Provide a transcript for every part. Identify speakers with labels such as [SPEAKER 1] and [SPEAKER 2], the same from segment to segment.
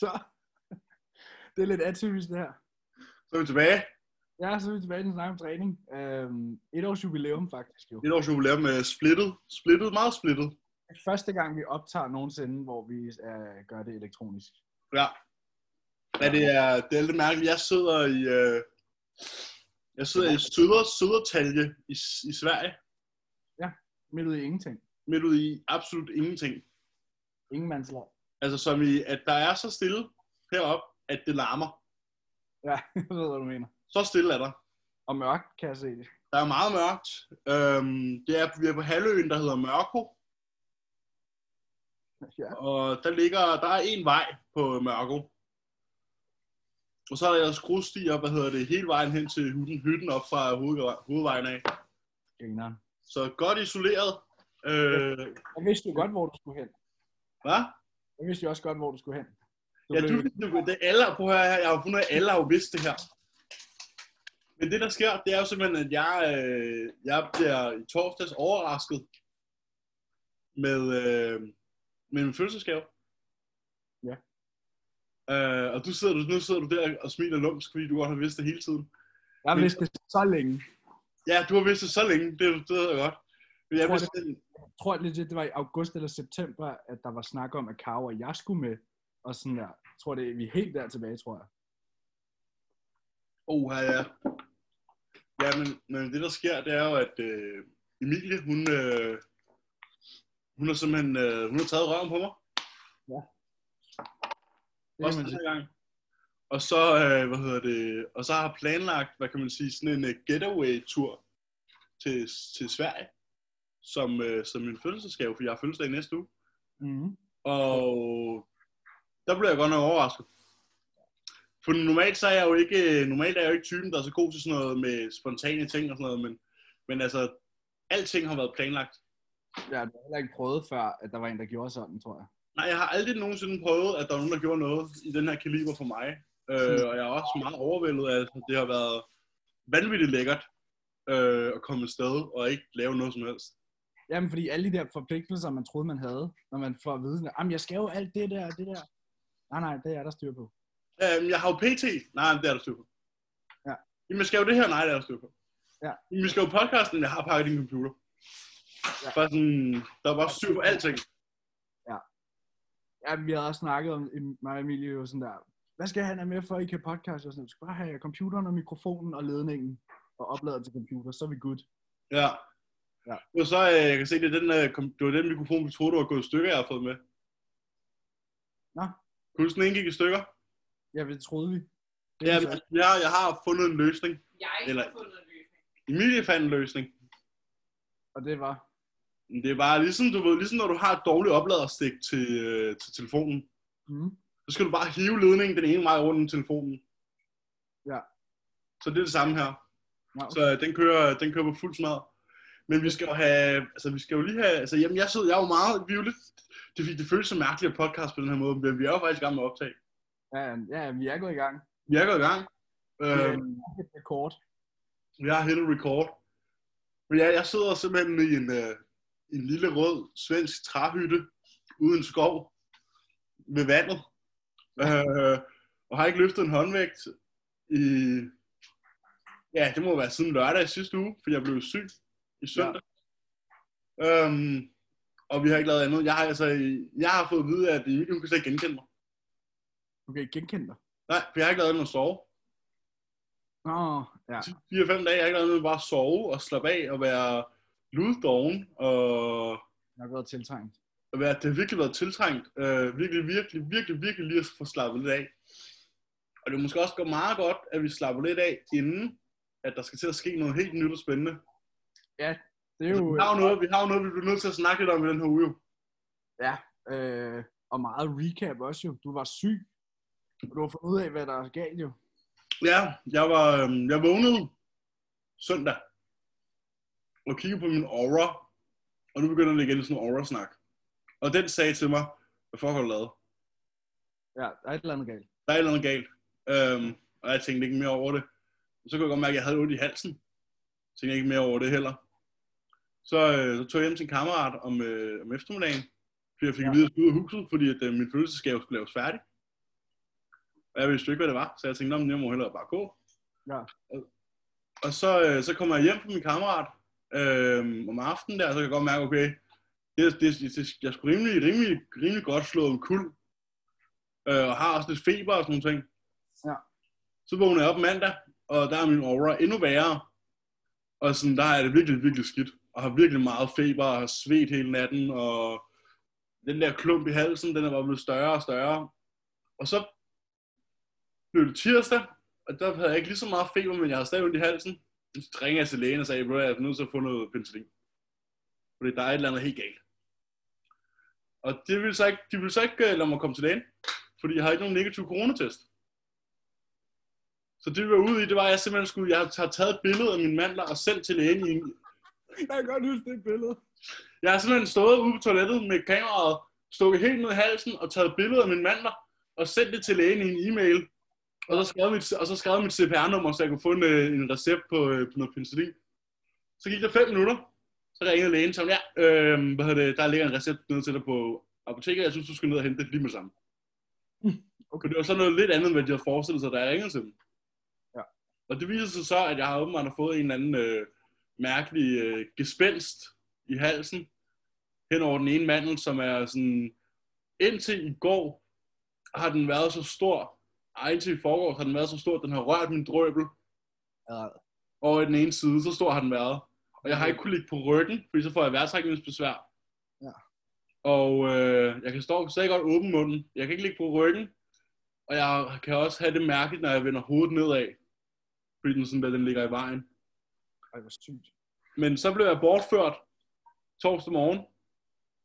[SPEAKER 1] Så, det er lidt atypisk det her.
[SPEAKER 2] Så er vi tilbage.
[SPEAKER 1] Ja, så er vi tilbage til at snakke om træning. Øhm, et års jubilæum faktisk jo.
[SPEAKER 2] Et års jubilæum med splittet. Splittet, meget splittet.
[SPEAKER 1] Det er første gang, vi optager nogensinde, hvor vi øh, gør det elektronisk.
[SPEAKER 2] Ja. Men det er, det er lidt mærkeligt. Jeg sidder i... Øh, jeg sidder i Søder, Sødertalje i, i Sverige.
[SPEAKER 1] Midt ud i ingenting.
[SPEAKER 2] Midt ude i absolut ingenting.
[SPEAKER 1] Ingen mandsland.
[SPEAKER 2] Altså som i, at der er så stille heroppe, at det larmer.
[SPEAKER 1] Ja, jeg ved, hvad du mener.
[SPEAKER 2] Så stille er der.
[SPEAKER 1] Og mørkt, kan jeg se det.
[SPEAKER 2] Der er meget mørkt. Øhm, det er, vi er på halvøen, der hedder Mørko.
[SPEAKER 1] Ja.
[SPEAKER 2] Og der ligger, der er en vej på Mørko. Og så er der ellers grusstier, hvad hedder det, hele vejen hen til hytten, hytten op fra hovedvej- hovedvejen af.
[SPEAKER 1] Grineren.
[SPEAKER 2] Så godt isoleret. Øh,
[SPEAKER 1] Jeg vidste jo godt, hvor du skulle hen.
[SPEAKER 2] hvad?
[SPEAKER 1] Jeg vidste jo også godt, hvor du skulle hen. Du
[SPEAKER 2] Ja,
[SPEAKER 1] blev-
[SPEAKER 2] du, du, det alle, prøv at høre her, jeg har jo fundet, at alle har jo vidst det her. Men det, der sker, det er jo simpelthen, at jeg, øh, jeg bliver i torsdags overrasket med, øh, med min fødselsgave.
[SPEAKER 1] Ja.
[SPEAKER 2] Øh, og du sidder, nu sidder du der og smiler lumsk, fordi du godt har vidst det hele tiden.
[SPEAKER 1] Jeg vidste det så længe.
[SPEAKER 2] Ja, du har vidst det så længe, det, det ved jeg godt. Men jeg
[SPEAKER 1] Tror
[SPEAKER 2] vidste, det,
[SPEAKER 1] Jeg tror legit, det var i august eller september, at der var snak om, at Karo og jeg skulle med. Og sådan der. Jeg tror, det er, vi er helt der tilbage, tror jeg.
[SPEAKER 2] Oha, ja. Ja, men, men det der sker, det er jo, at øh, Emilie, hun, øh, hun har simpelthen øh, hun har taget røven på mig.
[SPEAKER 1] Det
[SPEAKER 2] Også
[SPEAKER 1] kan man
[SPEAKER 2] den
[SPEAKER 1] sige.
[SPEAKER 2] her gang. Og så, øh, hvad hedder det, og så har planlagt, hvad kan man sige, sådan en øh, getaway-tur til, til Sverige, som, øh, som min fødselsdagsgave, for jeg har fødselsdag i næste uge.
[SPEAKER 1] Mm-hmm.
[SPEAKER 2] Og der blev jeg godt nok overrasket. For normalt, så er jeg jo ikke, normalt er jeg jo ikke typen, der er så god til sådan noget med spontane ting og sådan noget, men, men altså, alting har været planlagt.
[SPEAKER 1] Ja, det har jeg heller ikke prøvet før, at der var en, der gjorde sådan, tror jeg.
[SPEAKER 2] Nej, jeg har aldrig nogensinde prøvet, at der var nogen, der gjorde noget i den her kaliber for mig. Øh, og jeg er også meget overvældet af, at det har været vanvittigt lækkert øh, at komme afsted og ikke lave noget som helst.
[SPEAKER 1] Jamen, fordi alle de der forpligtelser, man troede, man havde, når man får at vide, at jeg skal jo alt det der og det der. Nej, nej, det er der styr på.
[SPEAKER 2] Øhm, jeg har jo PT. Nej, det er der styr på.
[SPEAKER 1] Ja.
[SPEAKER 2] Jamen, jeg skal jo det her. Nej, det er der styr på.
[SPEAKER 1] Ja.
[SPEAKER 2] Jamen, jeg skal jo podcasten. Jeg har pakket din computer.
[SPEAKER 1] Ja.
[SPEAKER 2] Bare sådan, der var styr på alting.
[SPEAKER 1] Ja, vi havde også snakket om, mig og Emilie jo sådan der, hvad skal han have med for, at I kan podcaste? Og sådan, du skal bare have computeren og mikrofonen og ledningen og oplader til computer, så er vi good.
[SPEAKER 2] Ja.
[SPEAKER 1] Ja.
[SPEAKER 2] Og så, øh, jeg kan se, det er den, øh, kom- det var den mikrofon, vi troede, du var gået i stykker, jeg har fået med.
[SPEAKER 1] Nå.
[SPEAKER 2] Kunne du sådan en gik i stykker?
[SPEAKER 1] Ja, det troede vi. Det
[SPEAKER 2] Ja,
[SPEAKER 1] er
[SPEAKER 2] men
[SPEAKER 1] så-
[SPEAKER 2] jeg, jeg har fundet en løsning.
[SPEAKER 3] Jeg
[SPEAKER 2] Eller-
[SPEAKER 3] har fundet en løsning.
[SPEAKER 2] Emilie fandt en løsning.
[SPEAKER 1] og det var,
[SPEAKER 2] Men Det er bare ligesom, du ved, ligesom når du har et dårligt opladerstik til, øh, til telefonen.
[SPEAKER 1] mm,
[SPEAKER 2] så skal du bare hive ledningen den ene vej rundt om telefonen.
[SPEAKER 1] Ja.
[SPEAKER 2] Så det er det samme her.
[SPEAKER 1] no.
[SPEAKER 2] Så øh, den kører, den kører på fuld smad. Men vi skal jo have, altså vi skal jo lige have, altså jamen jeg sidder, jeg er jo meget, vi er jo lidt, det, er fordi, det føles så mærkeligt at podcast på den her måde, men vi er jo faktisk i gang med at optage.
[SPEAKER 1] ja, ja, vi er gået i gang.
[SPEAKER 2] Vi er gået i gang. Øh,
[SPEAKER 1] Øhm. Det er rekord.
[SPEAKER 2] vi har hittet record. Men ja, jeg sidder simpelthen i en, øh, en lille rød svensk træhytte uden skov ved vandet. Øh, og har ikke løftet en håndvægt i... Ja, det må være siden lørdag i sidste uge, fordi jeg blev syg i søndag. Ja. Øhm, og vi har ikke lavet andet. Jeg har, altså, jeg har fået at vide, at Emilie, hun kan slet ikke genkende mig.
[SPEAKER 1] Du kan ikke genkende dig.
[SPEAKER 2] Nej, for jeg har ikke lavet andet end at sove.
[SPEAKER 1] Nå, ja.
[SPEAKER 2] 4-5 dage, jeg har ikke lavet noget, bare sove og slappe af og være luddoven og
[SPEAKER 1] Jeg har været tiltrængt.
[SPEAKER 2] at være, det har virkelig været tiltrængt. Øh, virkelig, virkelig, virkelig, virkelig lige at få slappet lidt af. Og det er måske også godt- meget godt, at vi slapper lidt af, inden at der skal til at ske noget helt nyt og spændende.
[SPEAKER 1] Det er
[SPEAKER 2] Altså,
[SPEAKER 1] jo
[SPEAKER 2] vi har jo noget, vi har jo noget, vi bliver nødt til at snakke lidt om i den her uge. jo.
[SPEAKER 1] øh, og meget recap også jo. Du var syg, og du har fundet ud af, hvad der er galt jo.
[SPEAKER 2] Ja, jeg var, øhm, jeg vågnede søndag og kiggede på min aura, og nu begynder det igen sådan en aura-snak. Og den sagde til mig, hvad fuck har du lavet?
[SPEAKER 1] Ja, der er et eller andet galt.
[SPEAKER 2] der er et eller andet galt. Øhm, og jeg tænkte ikke mere over det. Så kunne jeg godt mærke, at jeg havde ondt i halsen. Jeg tænkte ikke mere over det heller. Så, øh, så tog jeg hjem til en kammerat om, øh, om eftermiddagen, fordi jeg fik ja.
[SPEAKER 1] Ja.
[SPEAKER 2] at vide, at jeg skulle ud af huset, fordi at, øh, min fødselsdagsgave skulle laves færdig. Og jeg vidste jo ikke, hvad det var, så jeg tænkte, "Nå, men jeg må hellere bare gå.
[SPEAKER 1] Ja.
[SPEAKER 2] Og så, øh, så kommer jeg hjem fra min kammerat øh, om aftenen der, og så kan jeg godt mærke, okay, det, det, det, jeg skulle rimelig, rimelig, rimelig godt slå om kul. Øh, og har også lidt feber og sådan nogle ting.
[SPEAKER 1] Ja.
[SPEAKER 2] Så vågner jeg op mandag, og der er min aura endnu værre. Og sådan, der er det virkelig, virkelig skidt. Og har virkelig meget feber, og har svedt hele natten, og den der klump i halsen, den er bare blevet større og større. Og så blev det tirsdag, og der havde jeg ikke lige så meget feber, men jeg havde stadig ondt i halsen. Så ringede jeg til lægen og sagde, "Ved du hvad, jeg er nødt til at få noget penicillin. Fordi der er et eller andet helt galt. Og de ville så ikke, de ville så ikke øh, lade mig komme til lægen, fordi jeg har ikke nogen negativ coronatest. Så det vi var ude i, det var, at jeg simpelthen skulle, jeg har taget et billede af min mandler og sendt til lægen i en,
[SPEAKER 1] Jeg kan godt huske det billede.
[SPEAKER 2] jeg har simpelthen stået ude på toilettet med kameraet, stukket helt ned i halsen og taget billeder af mine mandler og sendt det til lægen i en e-mail. Og så skrev mit, og så skrev mit CPR-nummer, så jeg kunne få en, øh, en recept på, øh, på noget penicillin. Så gik der fem minutter, så ringede lægen som, ja, øh, hvad hedder det, der ligger en recept nede til dig på apoteket, jeg synes, du skal ned og hente det lige med sammen.
[SPEAKER 1] okay.
[SPEAKER 2] Okay. Det var så noget lidt andet, end hvad de havde forestillet sig, da jeg ringede til dem.
[SPEAKER 1] Ja.
[SPEAKER 2] Og det viser sig så, at jeg har åbenbart har fået en eller anden øh, mærkelig øh, gespenst i halsen hen over den ene mandel, som er sådan, indtil i går har den været så stor, ej, indtil i forgårs har den været så stor, at den har rørt min drøbel
[SPEAKER 1] Ja.
[SPEAKER 2] over i den ene side, så stor har den været. Og jeg har ikke kunne ligge på ryggen, fordi så får jeg vejrtrækningsbesvær.
[SPEAKER 1] Ja.
[SPEAKER 2] Og øh, jeg kan stå stadig godt åben munden. Jeg kan ikke ligge på ryggen. Og jeg kan også have det mærkeligt, når jeg vender hovedet nedad. Fordi den, sådan, der, den ligger i vejen.
[SPEAKER 1] Ej, hvor sygt.
[SPEAKER 2] Men så blev jeg bortført torsdag morgen.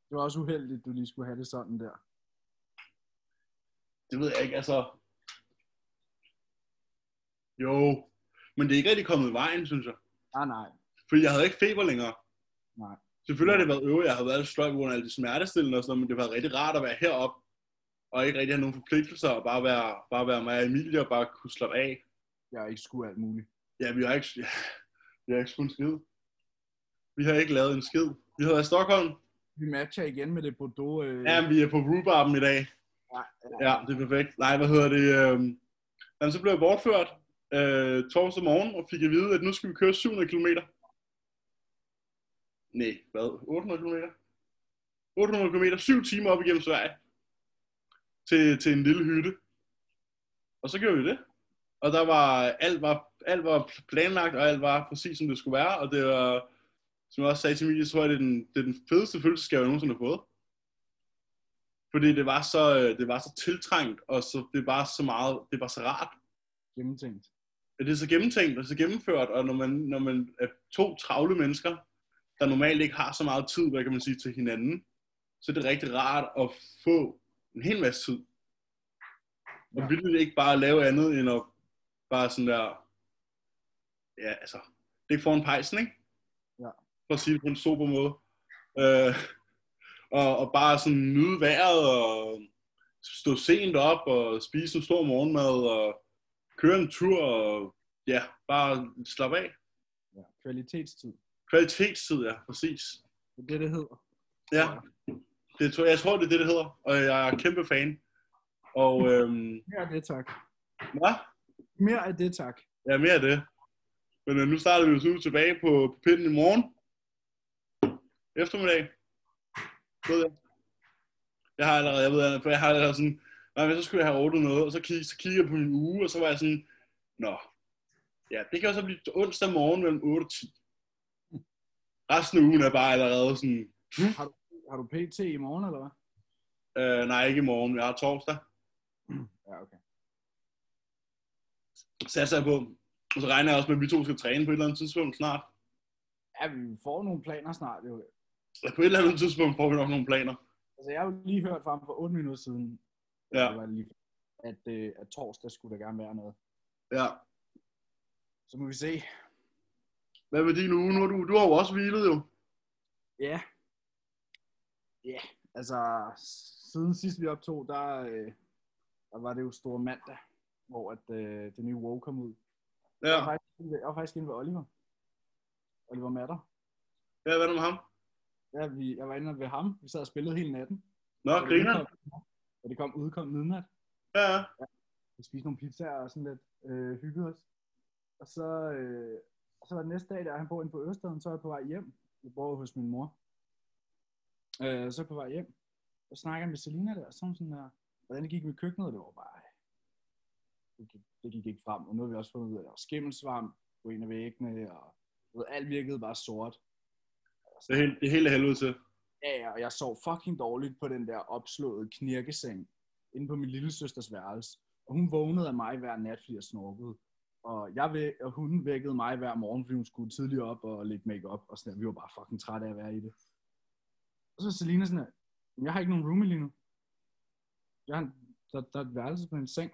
[SPEAKER 1] Det var også uheldigt, at du lige skulle have det sådan der.
[SPEAKER 2] Det ved jeg ikke, altså... Jo, men det er ikke rigtig kommet i vejen, synes jeg.
[SPEAKER 1] Ah, nej.
[SPEAKER 2] Fordi jeg havde ikke feber længere.
[SPEAKER 1] Nej.
[SPEAKER 2] Selvfølgelig har det været øvrigt, jeg havde været lidt sløj på grund af alle de smertestillende og sådan noget, men det var rigtig rart at være heroppe, og ikke rigtig have nogen forpligtelser, og bare være, bare være mig og Emilie, og bare kunne slappe af.
[SPEAKER 1] Jeg har ikke skulle alt muligt.
[SPEAKER 2] Ja, vi har ikke, vi har ikke skudt en skid. Vi har ikke lavet en skid. Vi har været i Stockholm.
[SPEAKER 1] Vi matcher igen med det Bordeaux. Øh,
[SPEAKER 2] Ja, vi er på Rhubarben i dag.
[SPEAKER 1] Ja,
[SPEAKER 2] ja. det er perfekt. Nej, hvad hedder det? øhm, Jamen, så blev jeg bortført øh, torsdag morgen, og fik at vide, at nu skal vi køre 700 km. Nej, hvad? 800 km? 800 km, 7 timer op igennem Sverige. Til, til en lille hytte. Og så gjorde vi det. Og der var, alt var, alt var planlagt, og alt var præcis, som det skulle være. Og det var, som jeg også sagde til Emilie, tror jeg, det er den, det er den fedeste følelsesgave, jeg nogensinde har fået. Fordi det var så, øh, det var så tiltrængt, og så, det var så meget, det var så rart.
[SPEAKER 1] gennemtænkt.
[SPEAKER 2] At Det er så gennemtænkt og så gennemført, og når man, når man er to travle mennesker, der normalt ikke har så meget tid, hvad kan man sige, til hinanden, så er det rigtig rart at få en hel masse tid. Og
[SPEAKER 1] Ja.
[SPEAKER 2] ja. ville ikke bare lave andet, end at bare sådan der, ja altså, det er ikke foran pejsen, ikke?
[SPEAKER 1] Ja.
[SPEAKER 2] For at sige det på en super måde. Øh, og, og bare sådan nyde vejret, og stå sent op, og spise en stor morgenmad, og køre en tur, og ja, bare slappe af.
[SPEAKER 1] Ja. Kvalitetstid.
[SPEAKER 2] Kvalitetstid, ja, præcis.
[SPEAKER 1] Det er det, det hedder.
[SPEAKER 2] Ja, det tror, jeg tror, det er det, det hedder, og jeg er kæmpe fan. Og øhm,
[SPEAKER 1] Mere af det, tak.
[SPEAKER 2] ja,
[SPEAKER 1] Mere af det, tak.
[SPEAKER 2] ja, mere af det. Men øh, nu starter vi jo så tilbage på, på pinden i morgen. Eftermiddag. Ved jeg. Jeg har allerede, jeg ved, allerede, for jeg har allerede sådan, nej, men så skulle jeg have ordnet noget, og så kiggede, så kiggede jeg på min uge, og så var jeg sådan, nå, ja, det kan jo så blive onsdag morgen mellem 8 og 10. Resten af ugen er bare allerede sådan,
[SPEAKER 1] Mm. Har du PT i morgen, eller hvad?
[SPEAKER 2] øh, nej, ikke i morgen, jeg har torsdag.
[SPEAKER 1] Ja, okay.
[SPEAKER 2] satser jeg på. Og så regner jeg også med, at vi to skal træne på et eller andet tidspunkt snart.
[SPEAKER 1] Ja, vi får nogle planer snart, jo.
[SPEAKER 2] Og på et eller andet tidspunkt får vi nok nogle planer.
[SPEAKER 1] Altså, jeg har jo lige hørt fra ham for 8 minutter siden,
[SPEAKER 2] Ja,
[SPEAKER 1] det var lige, at, øh, at torsdag skulle der gerne være noget.
[SPEAKER 2] ja.
[SPEAKER 1] Så må vi se.
[SPEAKER 2] Hvad med din uge? Nu har du, du har jo også hvilet jo.
[SPEAKER 1] Ja. Ja, altså, siden sidst vi optog, der, øh, der var det jo store mandag, hvor at, øh, det nye WoW kom ud.
[SPEAKER 2] Ja.
[SPEAKER 1] Jeg var faktisk inde ved- jeg var faktisk inde ved Oliver. Oliver Matter.
[SPEAKER 2] Ja, hvad er der med ham?
[SPEAKER 1] Ja, vi, jeg var inde ved ham. Vi sad og spillede hele natten.
[SPEAKER 2] Nå,
[SPEAKER 1] Og det
[SPEAKER 2] griner.
[SPEAKER 1] udkom- Og det kom udkom midnat.
[SPEAKER 2] Ja, ja.
[SPEAKER 1] vi spiste nogle pizzaer og sådan lidt øh, hyggede os. Og så, øh, og så var det næste dag, der han bor inde på Østheden, så er jeg på vej hjem. Jeg bor hos min mor. Øh, så er jeg på vej hjem. Og snakker med Selina der, og så er hun sådan der, hvordan det gik med køkkenet, det var bare, det gik, det gik ikke frem. Og nu har vi også fundet ud af, at der var skimmelsvamp på en af væggene, og du ved, alt virkede bare sort.
[SPEAKER 2] Det, hele, det hele er helvede til.
[SPEAKER 1] Ja, ja, og jeg sov fucking dårligt på den der opslåede knirkeseng inde på min lille søsters værelse. Og hun vågnede af mig hver nat, fordi jeg snorkede. Og, jeg væk, og hun vækkede mig hver morgen, fordi hun skulle tidligt op og lægge makeup og sådan der. Vi var bare fucking trætte af at være i det. Og så er Selina sådan her, jeg har ikke nogen roomie lige nu. Jeg har, en- der, der er et værelse på en seng.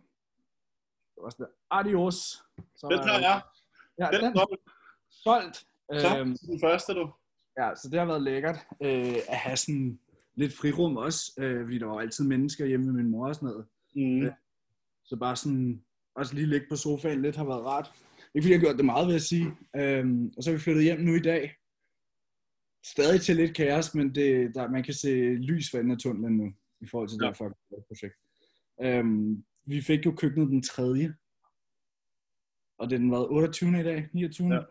[SPEAKER 1] Det var sådan der, adios. Så
[SPEAKER 2] Den
[SPEAKER 1] var
[SPEAKER 2] tager jeg.
[SPEAKER 1] Ja,
[SPEAKER 2] Den
[SPEAKER 1] den
[SPEAKER 2] dobbelt.
[SPEAKER 1] solgt.
[SPEAKER 2] Tak
[SPEAKER 1] Øhm,
[SPEAKER 2] til den første, du.
[SPEAKER 1] Ja, så det har været lækkert øh, at have sådan lidt frirum også, øh, fordi der var altid mennesker hjemme med min mor og sådan noget.
[SPEAKER 2] Mm.
[SPEAKER 1] Ja. Så bare sådan, også lige ligge på sofaen lidt har været rart. Ikke fordi jeg har gjort det meget, vil jeg sige. Øhm, og så er vi flyttet hjem nu i dag. Stadig til lidt kaos, men det, der, man kan se lys for enden af tunnelen nu, i forhold til ja.
[SPEAKER 2] Ja.
[SPEAKER 1] det her fucking projekt. Øhm, vi fik jo køkkenet den 3. Og det er den været 28. i dag, 29.
[SPEAKER 2] Ja.
[SPEAKER 1] Ja.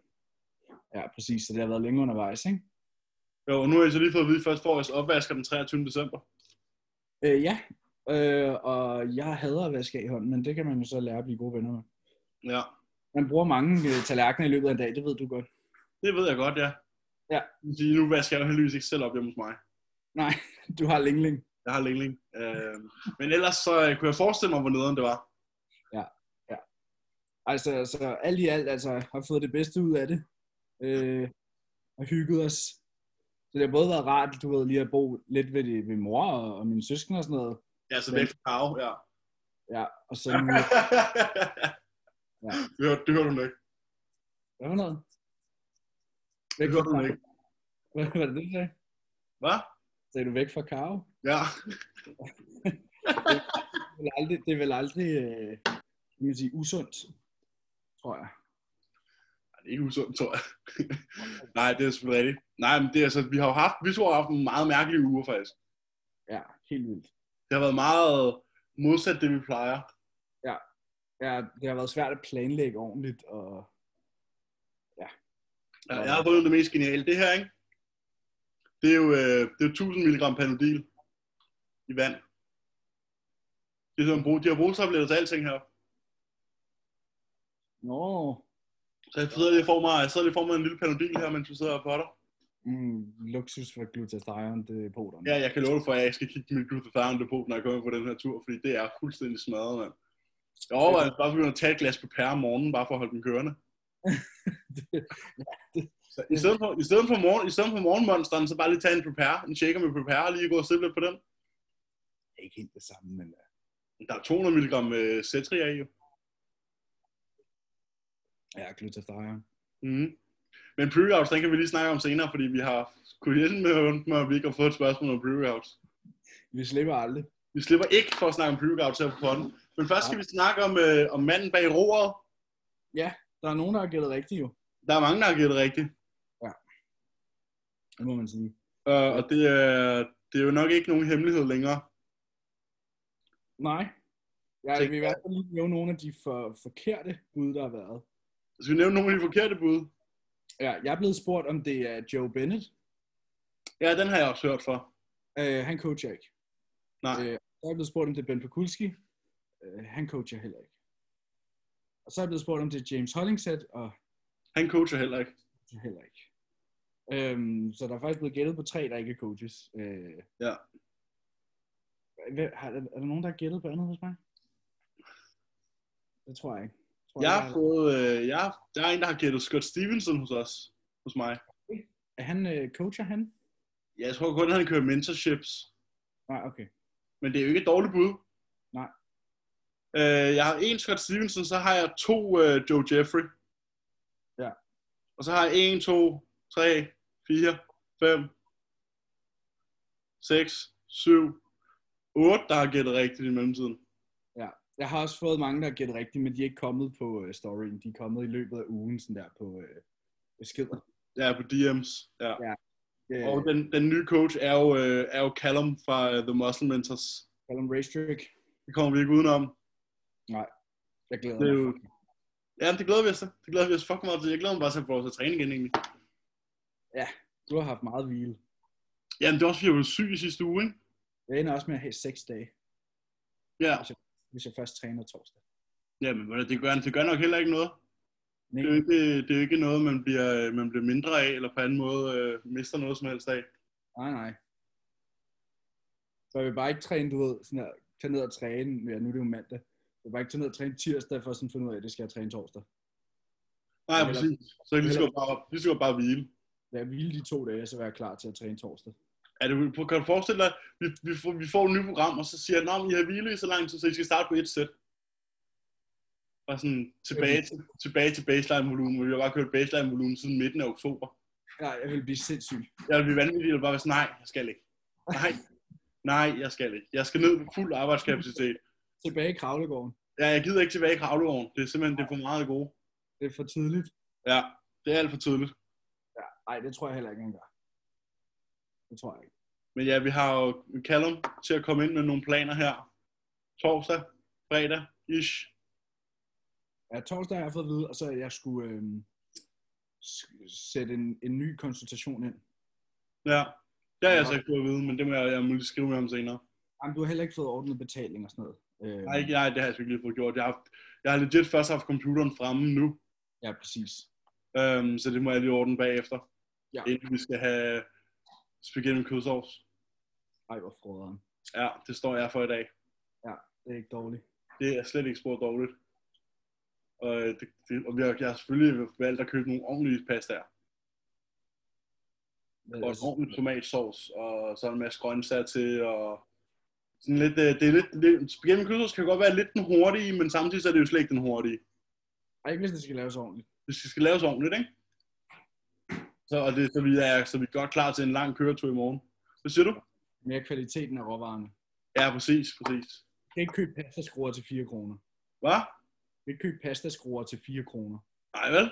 [SPEAKER 1] ja, præcis, så det har været længe undervejs, ikke?
[SPEAKER 2] Jo, og nu har I så lige fået at vide, at først får jeres opvasker den 23. december.
[SPEAKER 1] Øh, ja, øh, og jeg hader at vaske af i hånden, men det kan man jo så lære at blive gode venner med.
[SPEAKER 2] Ja,
[SPEAKER 1] Man bruger mange øh, tallerkener i løbet af en dag, det ved du godt.
[SPEAKER 2] det ved jeg godt, ja.
[SPEAKER 1] Ja.
[SPEAKER 2] Det vil sige, nu vasker jeg jo heldigvis ikke selv op hjemme hos mig.
[SPEAKER 1] Nej, du har lingling.
[SPEAKER 2] Jeg har længling. Øh, men ellers så øh, kunne jeg forestille mig, hvor nederen det var.
[SPEAKER 1] Altså, altså, alt i alt altså, har fået det bedste ud af det. Øh, og hygget os. Så det har både været rart, du ved, lige at bo lidt ved, det, ved mor og, og mine søskende og sådan noget.
[SPEAKER 2] Ja, så væk fra Karo, ja.
[SPEAKER 1] Ja, og så... Ja.
[SPEAKER 2] Det hørte, det hørte hun ikke.
[SPEAKER 1] Hvad var noget?
[SPEAKER 2] Det
[SPEAKER 1] Væk fra
[SPEAKER 2] hørte hun ikke.
[SPEAKER 1] Hvad var det, du sagde?
[SPEAKER 2] Hvad?
[SPEAKER 1] Sagde du væk fra Karo?
[SPEAKER 2] Ja.
[SPEAKER 1] Det er vel aldrig, det er vel aldrig øh, kan man sige, usundt, tror jeg.
[SPEAKER 2] Ej, Det er ikke usundt, tror jeg. Nej, det er selvfølgelig rigtigt. Nej, men det er altså, vi har jo haft, vi to har haft en meget mærkelig uge, faktisk.
[SPEAKER 1] Ja, helt vildt.
[SPEAKER 2] Det har været meget modsat det, vi plejer.
[SPEAKER 1] Ja, det har været svært at planlægge ordentligt, og
[SPEAKER 2] Ja, jeg har fundet det mest geniale. Det her, ikke? Det er jo øh, det er 1000 mg panodil i vand. Det er sådan, brug- de har brugstabletter til alting her.
[SPEAKER 1] nå,
[SPEAKER 2] Så jeg sidder lige for mig, jeg sidder lige for mig en lille panodil her, mens vi sidder og potter.
[SPEAKER 1] mm, luksus for glutathione, det er poterne.
[SPEAKER 2] Ja, jeg kan love dig for, at jeg skal kigge på mit glutathion depot, når jeg kommer på den her tur, fordi det er fuldstændig smadret, mand. Jeg overvejer bare at begynde at tage et glas på pære om morgenen, bare for at holde den kørende. Så I stedet for, i stedet for, morgen, i stedet for morgenmonsteren, så bare lige tage en prepare, en shaker med prepare, og lige gå og sippe lidt på den.
[SPEAKER 1] Det er ikke helt det samme, men øh,
[SPEAKER 2] Der er 200 mg øh, cetria i, jo.
[SPEAKER 1] ja, glutathione.
[SPEAKER 2] Mm. Men pre-outs, den kan vi lige snakke om senere, fordi vi har kunne hjælpe med, med, at vi ikke har fået et spørgsmål om pre-outs.
[SPEAKER 1] Vi slipper aldrig.
[SPEAKER 2] Vi slipper ikke for at snakke om pre-outs her på podden. Men først skal vi snakke om, øh, om manden bag roret.
[SPEAKER 1] Der er nogen, der har gættet rigtigt jo,
[SPEAKER 2] Der er mange, der har givet det rigtigt.
[SPEAKER 1] det må man sige.
[SPEAKER 2] Øh, og det, er- det er jo nok ikke nogen hemmelighed længere.
[SPEAKER 1] Nej, jeg
[SPEAKER 2] Tænk-
[SPEAKER 1] vil i hvert fald lige nævne nogle af de for, forkerte bud, der har været.
[SPEAKER 2] Skal Altså, vi nævne nogle af de forkerte bud?
[SPEAKER 1] Ja, jeg er blevet spurgt, om det er Joe Bennett.
[SPEAKER 2] Ja, den har jeg også hørt for.
[SPEAKER 1] Øh, han coacher ikke.
[SPEAKER 2] Nej.
[SPEAKER 1] Øh, så er jeg blevet spurgt, om det er Ben Pekulski. Øh, han coacher heller ikke. Og så er jeg blevet spurgt, om det er James Hollingshead, og
[SPEAKER 2] Han coacher heller ikke.
[SPEAKER 1] Det er heller ikke. Øhm, så der er faktisk blevet gættet på tre, der ikke er coaches. Øh,
[SPEAKER 2] Ja.
[SPEAKER 1] Hvad, har, er der nogen, der har gættet på andet hos mig? Det tror jeg ikke. Tror
[SPEAKER 2] Jeg
[SPEAKER 1] jeg,
[SPEAKER 2] har fået, øh, jeg, der er en, der har gættet Scott Stevenson hos os. Hos mig.
[SPEAKER 1] er han øh, coacher, han?
[SPEAKER 2] Ja, jeg tror kun, han kører mentorships.
[SPEAKER 1] Nej, okay.
[SPEAKER 2] Men det er jo ikke et dårligt bud.
[SPEAKER 1] Nej.
[SPEAKER 2] Øh, jeg har en Scott Stevenson, så har jeg to øh, Joe Jeffrey.
[SPEAKER 1] Ja.
[SPEAKER 2] Og så har jeg en, to, tre, fire, fem, seks, syv, otte, der har gættet rigtigt i mellemtiden.
[SPEAKER 1] Jeg har også fået mange, der har gættet rigtigt, men de er ikke kommet på øh, storyen. De er kommet i løbet af ugen, sådan der på øh, beskeder.
[SPEAKER 2] Ja, på DM's. Ja.
[SPEAKER 1] Øh,
[SPEAKER 2] Og den, den nye coach er jo, øh, er jo Callum fra øh, The Muscle Mentors.
[SPEAKER 1] Callum Racetrick.
[SPEAKER 2] Det kommer vi ikke udenom.
[SPEAKER 1] Nej. Jeg glæder
[SPEAKER 2] Det er
[SPEAKER 1] mig.
[SPEAKER 2] jo... Jamen, det glæder vi os til. Det glæder vi os fucking meget til. Jeg glæder mig bare til at få lov til at træne igen, egentlig.
[SPEAKER 1] Du har haft meget hvile.
[SPEAKER 2] Jamen, det er også, fordi jeg var syg i sidste uge, ikke?
[SPEAKER 1] Jeg ender også med at have seks dage,
[SPEAKER 2] Ja.
[SPEAKER 1] hvis jeg først træner torsdag.
[SPEAKER 2] Jamen, ved du, det gør, det gør nok heller ikke noget.
[SPEAKER 1] Nej,
[SPEAKER 2] Det er jo ikke, det er jo ikke noget, man bliver, øh, man bliver mindre af, eller på anden måde øh, mister noget som helst af.
[SPEAKER 1] nej, nej. Så jeg vil bare ikke træne, du ved, sådan her, tage ned og træne, ja, nu er det jo mandag. Jeg vil bare ikke tage ned og træne tirsdag, for sådan at finde ud af, at det skal jeg træne torsdag.
[SPEAKER 2] Nej,
[SPEAKER 1] Eller-
[SPEAKER 2] præcis. Så jeg lige skal bare, lige skal bare hvile.
[SPEAKER 1] Lad jeg hvile de to dage, så være klar til at træne torsdag.
[SPEAKER 2] Er det, kan du forestille dig, vi, vi, får, vi får et nyt program, og så siger jeg, at I har hvilet i så lang tid, så I skal starte på et sæt. Bare sådan tilbage, til, tilbage til baseline-volumen, hvor vi har bare kørt baseline-volumen siden midten af oktober.
[SPEAKER 1] Ja, jeg vil blive sindssyg.
[SPEAKER 2] Jeg vil blive vanvittig, og bare være sådan, nej, jeg skal ikke. Nej, nej, jeg skal ikke. Jeg skal ned på fuld arbejdskapacitet.
[SPEAKER 1] Tilbage i Kravlegården.
[SPEAKER 2] Ja, jeg gider ikke tilbage i kravleovnen. Det er simpelthen det er for meget af det gode.
[SPEAKER 1] Det er for tidligt.
[SPEAKER 2] Ja, det er alt for tydeligt.
[SPEAKER 1] Ja, nej, det tror jeg heller ikke engang. Det tror jeg ikke.
[SPEAKER 2] Men ja, vi har jo Callum til at komme ind med nogle planer her. Torsdag, fredag, ish.
[SPEAKER 1] Ja, torsdag har jeg fået at vide, og så jeg skulle øh, sætte en, en ny konsultation ind.
[SPEAKER 2] Ja, det har jeg så ikke fået at vide, men det må jeg, jeg må lige skrive med ham senere.
[SPEAKER 1] Jamen, du har heller ikke fået ordnet betaling og sådan noget. Øh,
[SPEAKER 2] Nej, ikke- nej, det har jeg sgu ikke lige fået gjort. Jeg har, haft- jeg har legit først haft computeren fremme nu,
[SPEAKER 1] Ja, præcis.
[SPEAKER 2] øhm, så det må jeg lige ordne bagefter.
[SPEAKER 1] Ja.
[SPEAKER 2] Inden vi skal have spaghetti med kødsovs.
[SPEAKER 1] Ej, hvor froderen.
[SPEAKER 2] Ja, det står jeg for i dag.
[SPEAKER 1] Det er ikke dårligt.
[SPEAKER 2] Det er slet ikke spor dårligt. Og, øh, det, det, og vi har, jeg har selvfølgelig valgt at købe nogle ordentlige pastaer.
[SPEAKER 1] Hvad-
[SPEAKER 2] og en ordentlig tomatsovs, og så en masse grøntsager til, og sådan lidt, øh, det er lidt, lidt spaghetti med kødsovs kan godt være lidt den hurtige, men samtidig så er det jo slet ikke den hurtige.
[SPEAKER 1] Ej, ikke hvis det skal laves ordentligt.
[SPEAKER 2] Det skal, skal laves ordentligt, ikke? Så, og det, så, vi er, så vi er godt klar til en lang køretur i morgen. Hvad siger du?
[SPEAKER 1] Mere kvaliteten af råvarerne.
[SPEAKER 2] Ja, præcis, præcis.
[SPEAKER 1] Du kan ikke købe pastaskruer til 4 kroner.
[SPEAKER 2] Hvad?
[SPEAKER 1] Du kan ikke købe pastaskruer til 4 kroner.
[SPEAKER 2] Nej, vel?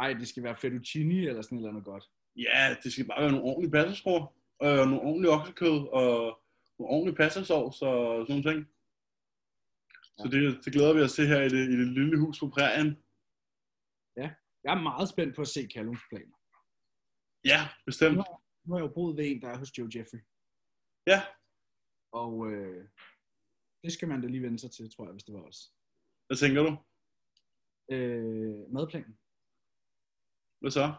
[SPEAKER 1] Ej, det skal være fettuccine eller sådan et eller andet godt.
[SPEAKER 2] Ja, det skal bare være nogle ordentlige passerskruer, og nogle ordentlige oksekød, og nogle ordentlige passersovs og sådan nogle ting. Så det, det glæder vi os til her i det, i det lille hus på prærien.
[SPEAKER 1] Jeg er meget spændt på at se Callums planer.
[SPEAKER 2] Ja, bestemt.
[SPEAKER 1] Nu har jeg jo boet ved en, der er hos Joe Jeffrey.
[SPEAKER 2] Ja,
[SPEAKER 1] Og øh, det skal man da lige vende sig til, tror jeg, hvis det var os.
[SPEAKER 2] hvad tænker du?
[SPEAKER 1] Øh, madplanen.
[SPEAKER 2] Hvad så?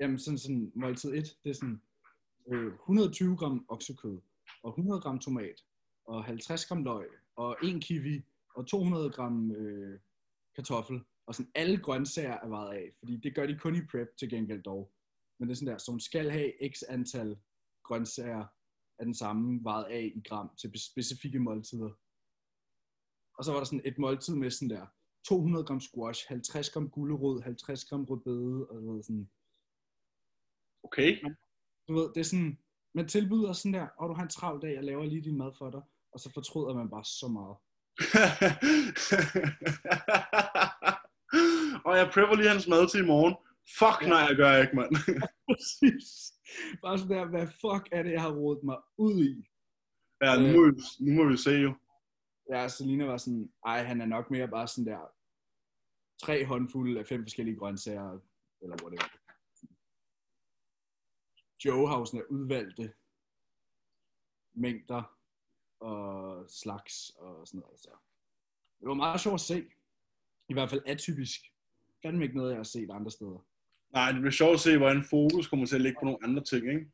[SPEAKER 1] Jamen sådan, sådan måltid 1, det er sådan øh, 120 gram oksekød, og 100 gram tomat, og 50 gram løg, og 1 kiwi, og 200 gram øh, kartoffel, og sådan alle grøntsager er vejet af, fordi det gør de kun i prep til gengæld dog. Men det er sådan der, som skal have x antal grøntsager af den samme vejet af i gram til be- specifikke måltider. Og så var der sådan et måltid med sådan der 200 gram squash, 50 gram gulerod, 50 gram rødbede, og du ved, sådan
[SPEAKER 2] Okay.
[SPEAKER 1] du ved, det er sådan, man tilbyder sådan der, og du har en travl dag, jeg laver lige din mad for dig, og så fortryder man bare så meget.
[SPEAKER 2] og jeg prepper lige hans mad til i morgen. Fuck nej, jeg gør ikke, mand.
[SPEAKER 1] Præcis. Bare sådan der, hvad fuck er det, jeg har rodet mig ud i?
[SPEAKER 2] ja, nu må, vi, nu må vi se jo.
[SPEAKER 1] Ja, Selina var sådan, ej, han er nok mere bare sådan der, tre håndfulde af fem forskellige grøntsager, eller whatever. Joe har jo sådan der udvalgte mængder og slags og sådan noget. Så. Det var meget sjovt at se. I hvert fald atypisk. Fandme ikke noget, jeg har set andre steder.
[SPEAKER 2] Nej, det bliver sjovt at se, hvordan fokus kommer til at ligge på nogle andre ting, ikke?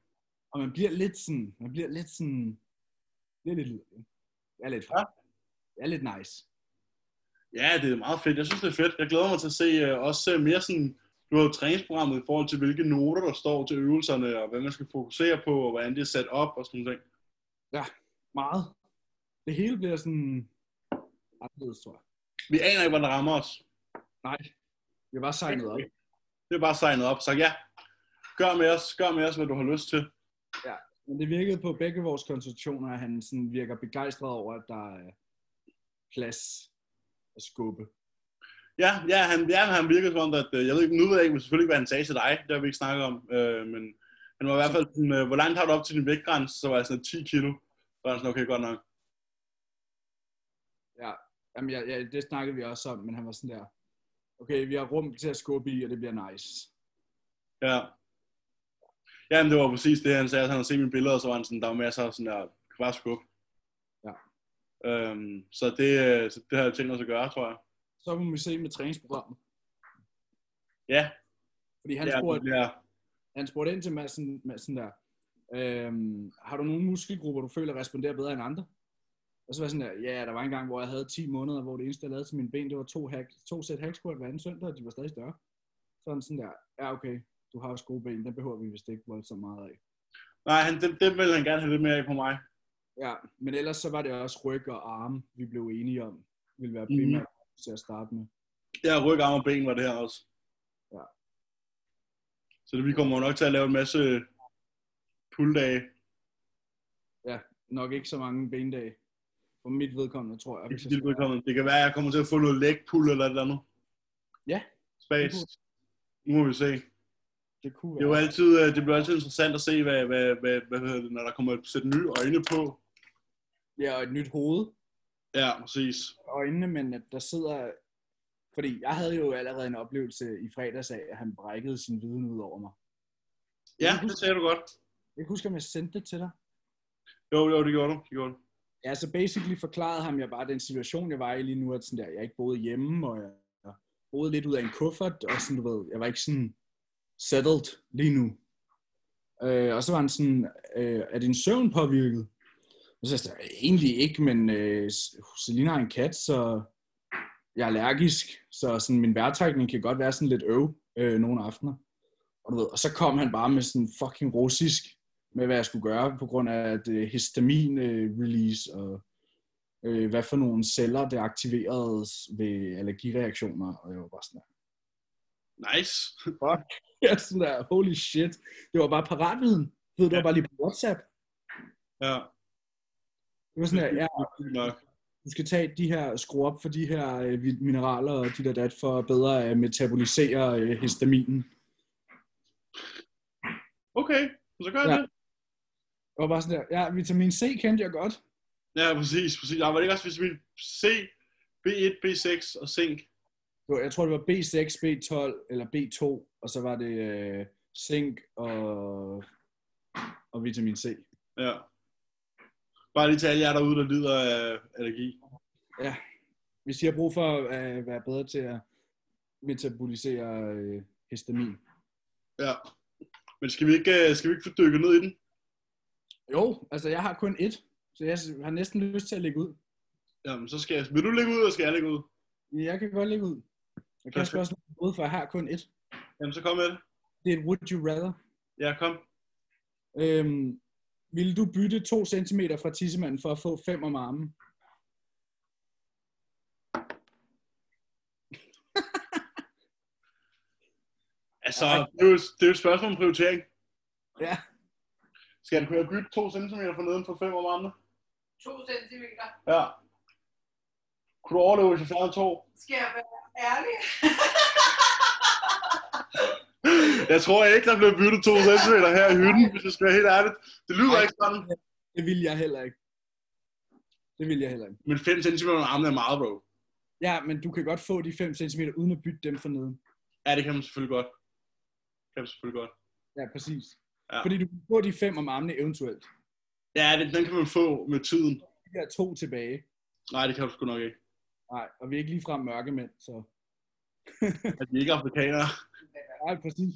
[SPEAKER 1] Og man bliver lidt sådan, man bliver lidt sådan, det er lidt lyd. Det er lidt,
[SPEAKER 2] Ja.
[SPEAKER 1] det er lidt nice.
[SPEAKER 2] Ja, det er meget fedt. Jeg synes, det er fedt. Jeg glæder mig til at se øh, også øh, mere sådan, du har jo træningsprogrammet i forhold til, hvilke noter, der står til øvelserne, og hvad man skal fokusere på, og hvordan det er sat op, og sådan noget.
[SPEAKER 1] Meget. Det hele bliver sådan, anderledes, tror jeg.
[SPEAKER 2] Vi aner ikke, hvordan det rammer os.
[SPEAKER 1] Jeg var signet op.
[SPEAKER 2] Det er bare signet op. Så ja, gør med os, gør med os, hvad du har lyst til.
[SPEAKER 1] Men det virkede på begge vores konstitutioner, at han sådan virker begejstret over, at der er plads at skubbe.
[SPEAKER 2] Ja, ja, han, ja, han virkede som om, at, øh, jeg ved ikke, nu ved jeg ikke, selvfølgelig ikke, hvad han sagde til dig, det har vi ikke snakket om, øh, men han var i hvert fald sådan, øh, hvor langt har du op til din vægtgrænse, så var jeg sådan 10 kilo, så var han sådan, okay, godt nok.
[SPEAKER 1] Jamen, jeg, jeg, det snakkede vi også om, men han var sådan der, okay, vi har rum til at skubbe i, og det bliver nice.
[SPEAKER 2] Ja. Ja, men det var præcis det, han sagde. at Han havde set mine billeder, og så var han sådan, der var masser af sådan der, du kan bare skubbe.
[SPEAKER 1] Ja.
[SPEAKER 2] Øhm, så det, øh, så det har jeg tænkt os at gøre, tror jeg.
[SPEAKER 1] Så må vi se med træningsprogrammet.
[SPEAKER 2] Ja,
[SPEAKER 1] Fordi han,
[SPEAKER 2] ja,
[SPEAKER 1] ja, spurgte,
[SPEAKER 2] det bliver,
[SPEAKER 1] han spurgte ind til Madsen, Madsen der, øhm, har du nogle muskelgrupper, du føler responderer bedre end andre? Og så var jeg sådan der, ja, der var en gang, hvor jeg havde 10 måneder, hvor det eneste, jeg lavede til mine ben, det var to, hack, to sæt hack squat hver anden søndag, og de var stadig større. Så han sådan der, ja okay, du har også gode ben, den behøver vi vist ikke voldsomt meget af.
[SPEAKER 2] nej, han, det, det ville han gerne have lidt mere af på mig.
[SPEAKER 1] Ja, men ellers så var det også ryg og arme, vi blev enige om, ville være
[SPEAKER 2] Mhm.
[SPEAKER 1] primært til at starte med.
[SPEAKER 2] Ja, ryg, arm og ben var det her også.
[SPEAKER 1] Ja.
[SPEAKER 2] Så det, vi kommer nok til at lave en masse pulldage.
[SPEAKER 1] Nok ikke så mange bendage. For mit vedkommende, tror jeg. hvis jeg
[SPEAKER 2] Dit
[SPEAKER 1] skal være-
[SPEAKER 2] vedkommende. Det kan være, at jeg kommer til at få noget leg pull eller et eller andet.
[SPEAKER 1] Ja.
[SPEAKER 2] Space. Nu må vi se.
[SPEAKER 1] Det kunne
[SPEAKER 2] Det, er jo altid, øh, det bliver altid interessant at se, hvad, hvad, hvad, hvad hedder det, når der kommer et sæt nye øjne på.
[SPEAKER 1] Ja, og et nyt hoved.
[SPEAKER 2] Ja, præcis.
[SPEAKER 1] Øjnene, men at der sidder... Fordi jeg havde jo allerede en oplevelse i fredags af, at han brækkede sin viden ud over mig.
[SPEAKER 2] Ja, det sagde du godt.
[SPEAKER 1] Jeg kan huske, om jeg sendte det til dig.
[SPEAKER 2] Jo, jo, det gjorde du. Det gjorde du.
[SPEAKER 1] Ja, så basically forklarede ham jeg bare den situation, jeg var i lige nu, at sådan der, jeg ikke boede hjemme, og jeg jeg boede lidt ud af en kuffert, og sådan, du ved, jeg var ikke sådan settled lige nu. Øh, og så var han sådan, øh, er din søvn påvirket? Og så sagde jeg, egentlig ikke, men øh, Selina har en kat, så jeg er allergisk, så sådan, min vejrtrækning kan godt være sådan lidt øv øh, nogle aftener. Og, du ved, og så kom han bare med sådan fucking russisk, med, hvad jeg skulle gøre, på grund af at øh, histamin-release og øh, hvad for nogle celler, der aktiveredes ved allergireaktioner. Og jeg var bare sådan der,
[SPEAKER 2] Nice.
[SPEAKER 1] jeg er sådan der holy shit. Det var bare paratviden. Du ved, Det var bare lige på WhatsApp.
[SPEAKER 2] Ja,
[SPEAKER 1] Det var sådan der, ja,
[SPEAKER 2] det er nok.
[SPEAKER 1] du skal tage de her, skrue op for de her øh, vi- mineraler og de der dat, for bedre at metabolisere øh, histaminen.
[SPEAKER 2] Okay, så gør jeg
[SPEAKER 1] Ja.
[SPEAKER 2] det.
[SPEAKER 1] Jeg var bare sådan der, ja, vitamin C kendte jeg godt.
[SPEAKER 2] Ja, præcis. præcis. Der var det ikke også vitamin C, B1, B6 og zink?
[SPEAKER 1] Det var- Jeg tror, det var B6, B12 eller B2, og så var det øh, zink og, og vitamin C.
[SPEAKER 2] Ja. Bare lige til alle jer derude, der lider af allergi.
[SPEAKER 1] Hvis I har brug for at øh, være bedre til at metabolisere øh, histamin.
[SPEAKER 2] Ja. Men skal vi ikke, øh, skal vi ikke få dykket ned i den?
[SPEAKER 1] Jo, altså jeg har kun ét, så jeg har næsten lyst til at lægge ud.
[SPEAKER 2] Jamen, så skal jeg... Vil du lægge ud, eller skal jeg lægge ud?
[SPEAKER 1] Jeg kan godt lægge ud. Jeg kan også
[SPEAKER 2] Perfekt.
[SPEAKER 1] også lægge ud, for jeg har kun ét.
[SPEAKER 2] Jamen, så kom med det.
[SPEAKER 1] Det er et would you rather.
[SPEAKER 2] Ja, kom.
[SPEAKER 1] Øhm, ville du bytte 2 cm fra tissemanden for at få 5 om armen?
[SPEAKER 2] Altså,
[SPEAKER 1] Ej.
[SPEAKER 2] det er, jo, det er jo et spørgsmål om prioritering.
[SPEAKER 1] Ja.
[SPEAKER 2] Skal du kunne bytte 2 cm for neden for 5 om armene?
[SPEAKER 3] 2 centimeter.
[SPEAKER 2] Ja. Kunne du overleve, hvis jeg fjernede to?
[SPEAKER 3] Skal jeg være ærlig?
[SPEAKER 2] Jeg tror ikke, der blev byttet 2 cm her i hytten, hvis jeg skal være helt ærligt. Det lyder
[SPEAKER 1] Ej.
[SPEAKER 2] ikke sådan.
[SPEAKER 1] Det ville jeg heller ikke. Det ville jeg heller ikke.
[SPEAKER 2] Men 5 cm om armene er meget, bro.
[SPEAKER 1] Ja, men du kan godt få de 5 cm uden at bytte dem for neden.
[SPEAKER 2] Ja, det kan man selvfølgelig godt. Det kan man selvfølgelig godt.
[SPEAKER 1] Ja, præcis.
[SPEAKER 2] Ja.
[SPEAKER 1] Ja. Fordi du kan få de 5 om armene eventuelt.
[SPEAKER 2] Ja, det, den kan man få med tiden.
[SPEAKER 1] De der to tilbage.
[SPEAKER 2] Nej, det kan du sgu nok ikke.
[SPEAKER 1] Nej, og vi er ikke ligefrem mørkemænd, så...
[SPEAKER 2] At Altså, vi ikke er afrikanere.
[SPEAKER 1] Nej, præcis.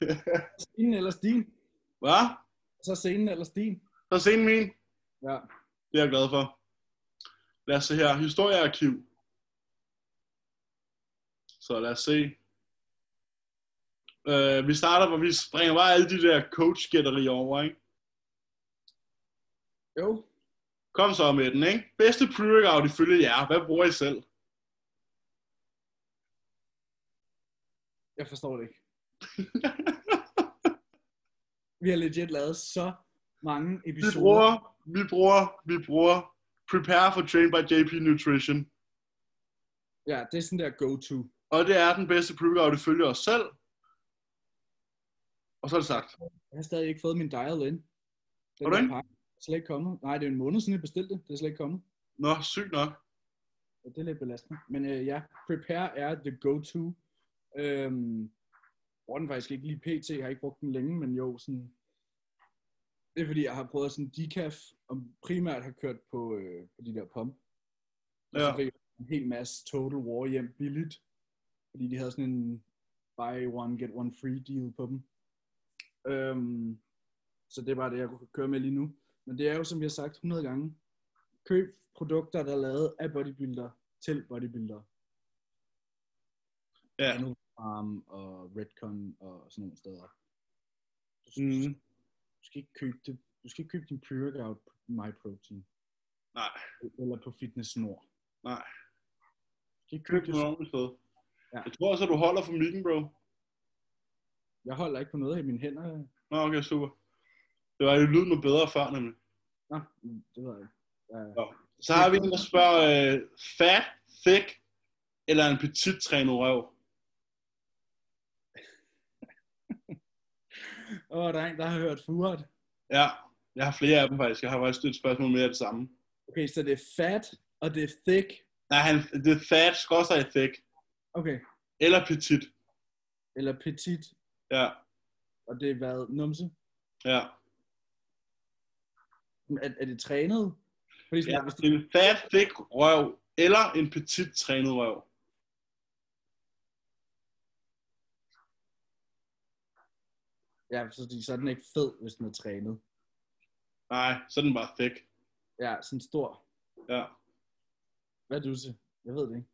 [SPEAKER 1] Scenen eller stien.
[SPEAKER 2] Hvad?
[SPEAKER 1] Så scenen eller stien.
[SPEAKER 2] Så se en min.
[SPEAKER 1] Ja.
[SPEAKER 2] Det er jeg glad for. Lad os se her. Historiearkiv. Så lad os se. Øh, vi starter, hvor vi springer bare alle de der coach over, ikke?
[SPEAKER 1] Jo.
[SPEAKER 2] Kom så med den, ikke? Bedste pre-workout ifølge jer. Hvad bruger I selv?
[SPEAKER 1] Jeg forstår det ikke. vi har legit lavet så mange
[SPEAKER 2] Vi
[SPEAKER 1] episoder.
[SPEAKER 2] bruger, vi bruger, vi bruger Prepare for Train by JP Nutrition.
[SPEAKER 1] Ja, det er sådan der go-to.
[SPEAKER 2] Og det er den bedste pre-workout ifølge os selv. Og så er det sagt.
[SPEAKER 1] Jeg har stadig ikke fået min dial in. Den
[SPEAKER 2] Har du
[SPEAKER 1] der
[SPEAKER 2] ikke?
[SPEAKER 1] pakke. slet ikke kommet. Nej, det er en måned siden, jeg bestilte det. Det er slet ikke kommet.
[SPEAKER 2] Nå, sygt nok.
[SPEAKER 1] Ja, det er lidt belastende. Men øh, ja, Prepare er the go-to. Øhm, bruger den faktisk ikke lige pt. Jeg har ikke brugt den længe, men jo, sådan... Det er fordi, jeg har prøvet sådan decaf, og primært har kørt på, øh, på de der pump. Og
[SPEAKER 2] Ja.
[SPEAKER 1] så fik jeg en hel masse Total War hjem billigt. Fordi de havde sådan en buy one, get one free deal på dem. Øhm, så det var det, jeg kunne køre med lige nu. Men det er jo, som vi har sagt 100 gange, køb produkter, der er lavet af bodybuilder til bodybuilder.
[SPEAKER 2] Ja.
[SPEAKER 1] Nano Farm og Redcon og sådan nogle steder. Du skal,
[SPEAKER 2] Mhm.
[SPEAKER 1] du skal ikke købe det. Du skal ikke købe din pre-workout på MyProtein
[SPEAKER 2] Nej,
[SPEAKER 1] eller på Fitness Nord.
[SPEAKER 2] nej.
[SPEAKER 1] Du skal ikke
[SPEAKER 2] Køb
[SPEAKER 1] købe
[SPEAKER 2] den et
[SPEAKER 1] det.
[SPEAKER 2] ordentligt sted.
[SPEAKER 1] Ja.
[SPEAKER 2] Jeg tror også, at du holder for mikken, bro.
[SPEAKER 1] Jeg holder ikke på noget i mine hænder.
[SPEAKER 2] Nå, okay, super. Det var jo lyden noget bedre før, nemlig.
[SPEAKER 1] Nå, det ved jeg ikke. Uh,
[SPEAKER 2] Så har vi en, der spørger, øh, fat, thick eller en petit trænet røv?
[SPEAKER 1] Åh, der er en, der har hørt furet.
[SPEAKER 2] Ja, jeg har flere af dem faktisk. Jeg har faktisk et spørgsmål mere af det samme.
[SPEAKER 1] Okay, så det er fat, og det er thick.
[SPEAKER 2] Nej, han, det er fat, skorstræk thick.
[SPEAKER 1] Okay,
[SPEAKER 2] Eller petit.
[SPEAKER 1] eller petit,
[SPEAKER 2] Ja,
[SPEAKER 1] og det er hvad? Numse?
[SPEAKER 2] ja.
[SPEAKER 1] Er, er det trænet? Fordi
[SPEAKER 2] ja
[SPEAKER 1] sådan, hvis det,
[SPEAKER 2] en fat, thick røv eller en petit trænet røv.
[SPEAKER 1] ja, så, så er den ikke fed, hvis den er trænet.
[SPEAKER 2] Nej, så er den bare thick.
[SPEAKER 1] Ja, sådan stor.
[SPEAKER 2] Ja.
[SPEAKER 1] Hvad er du til? Jeg ved det ikke.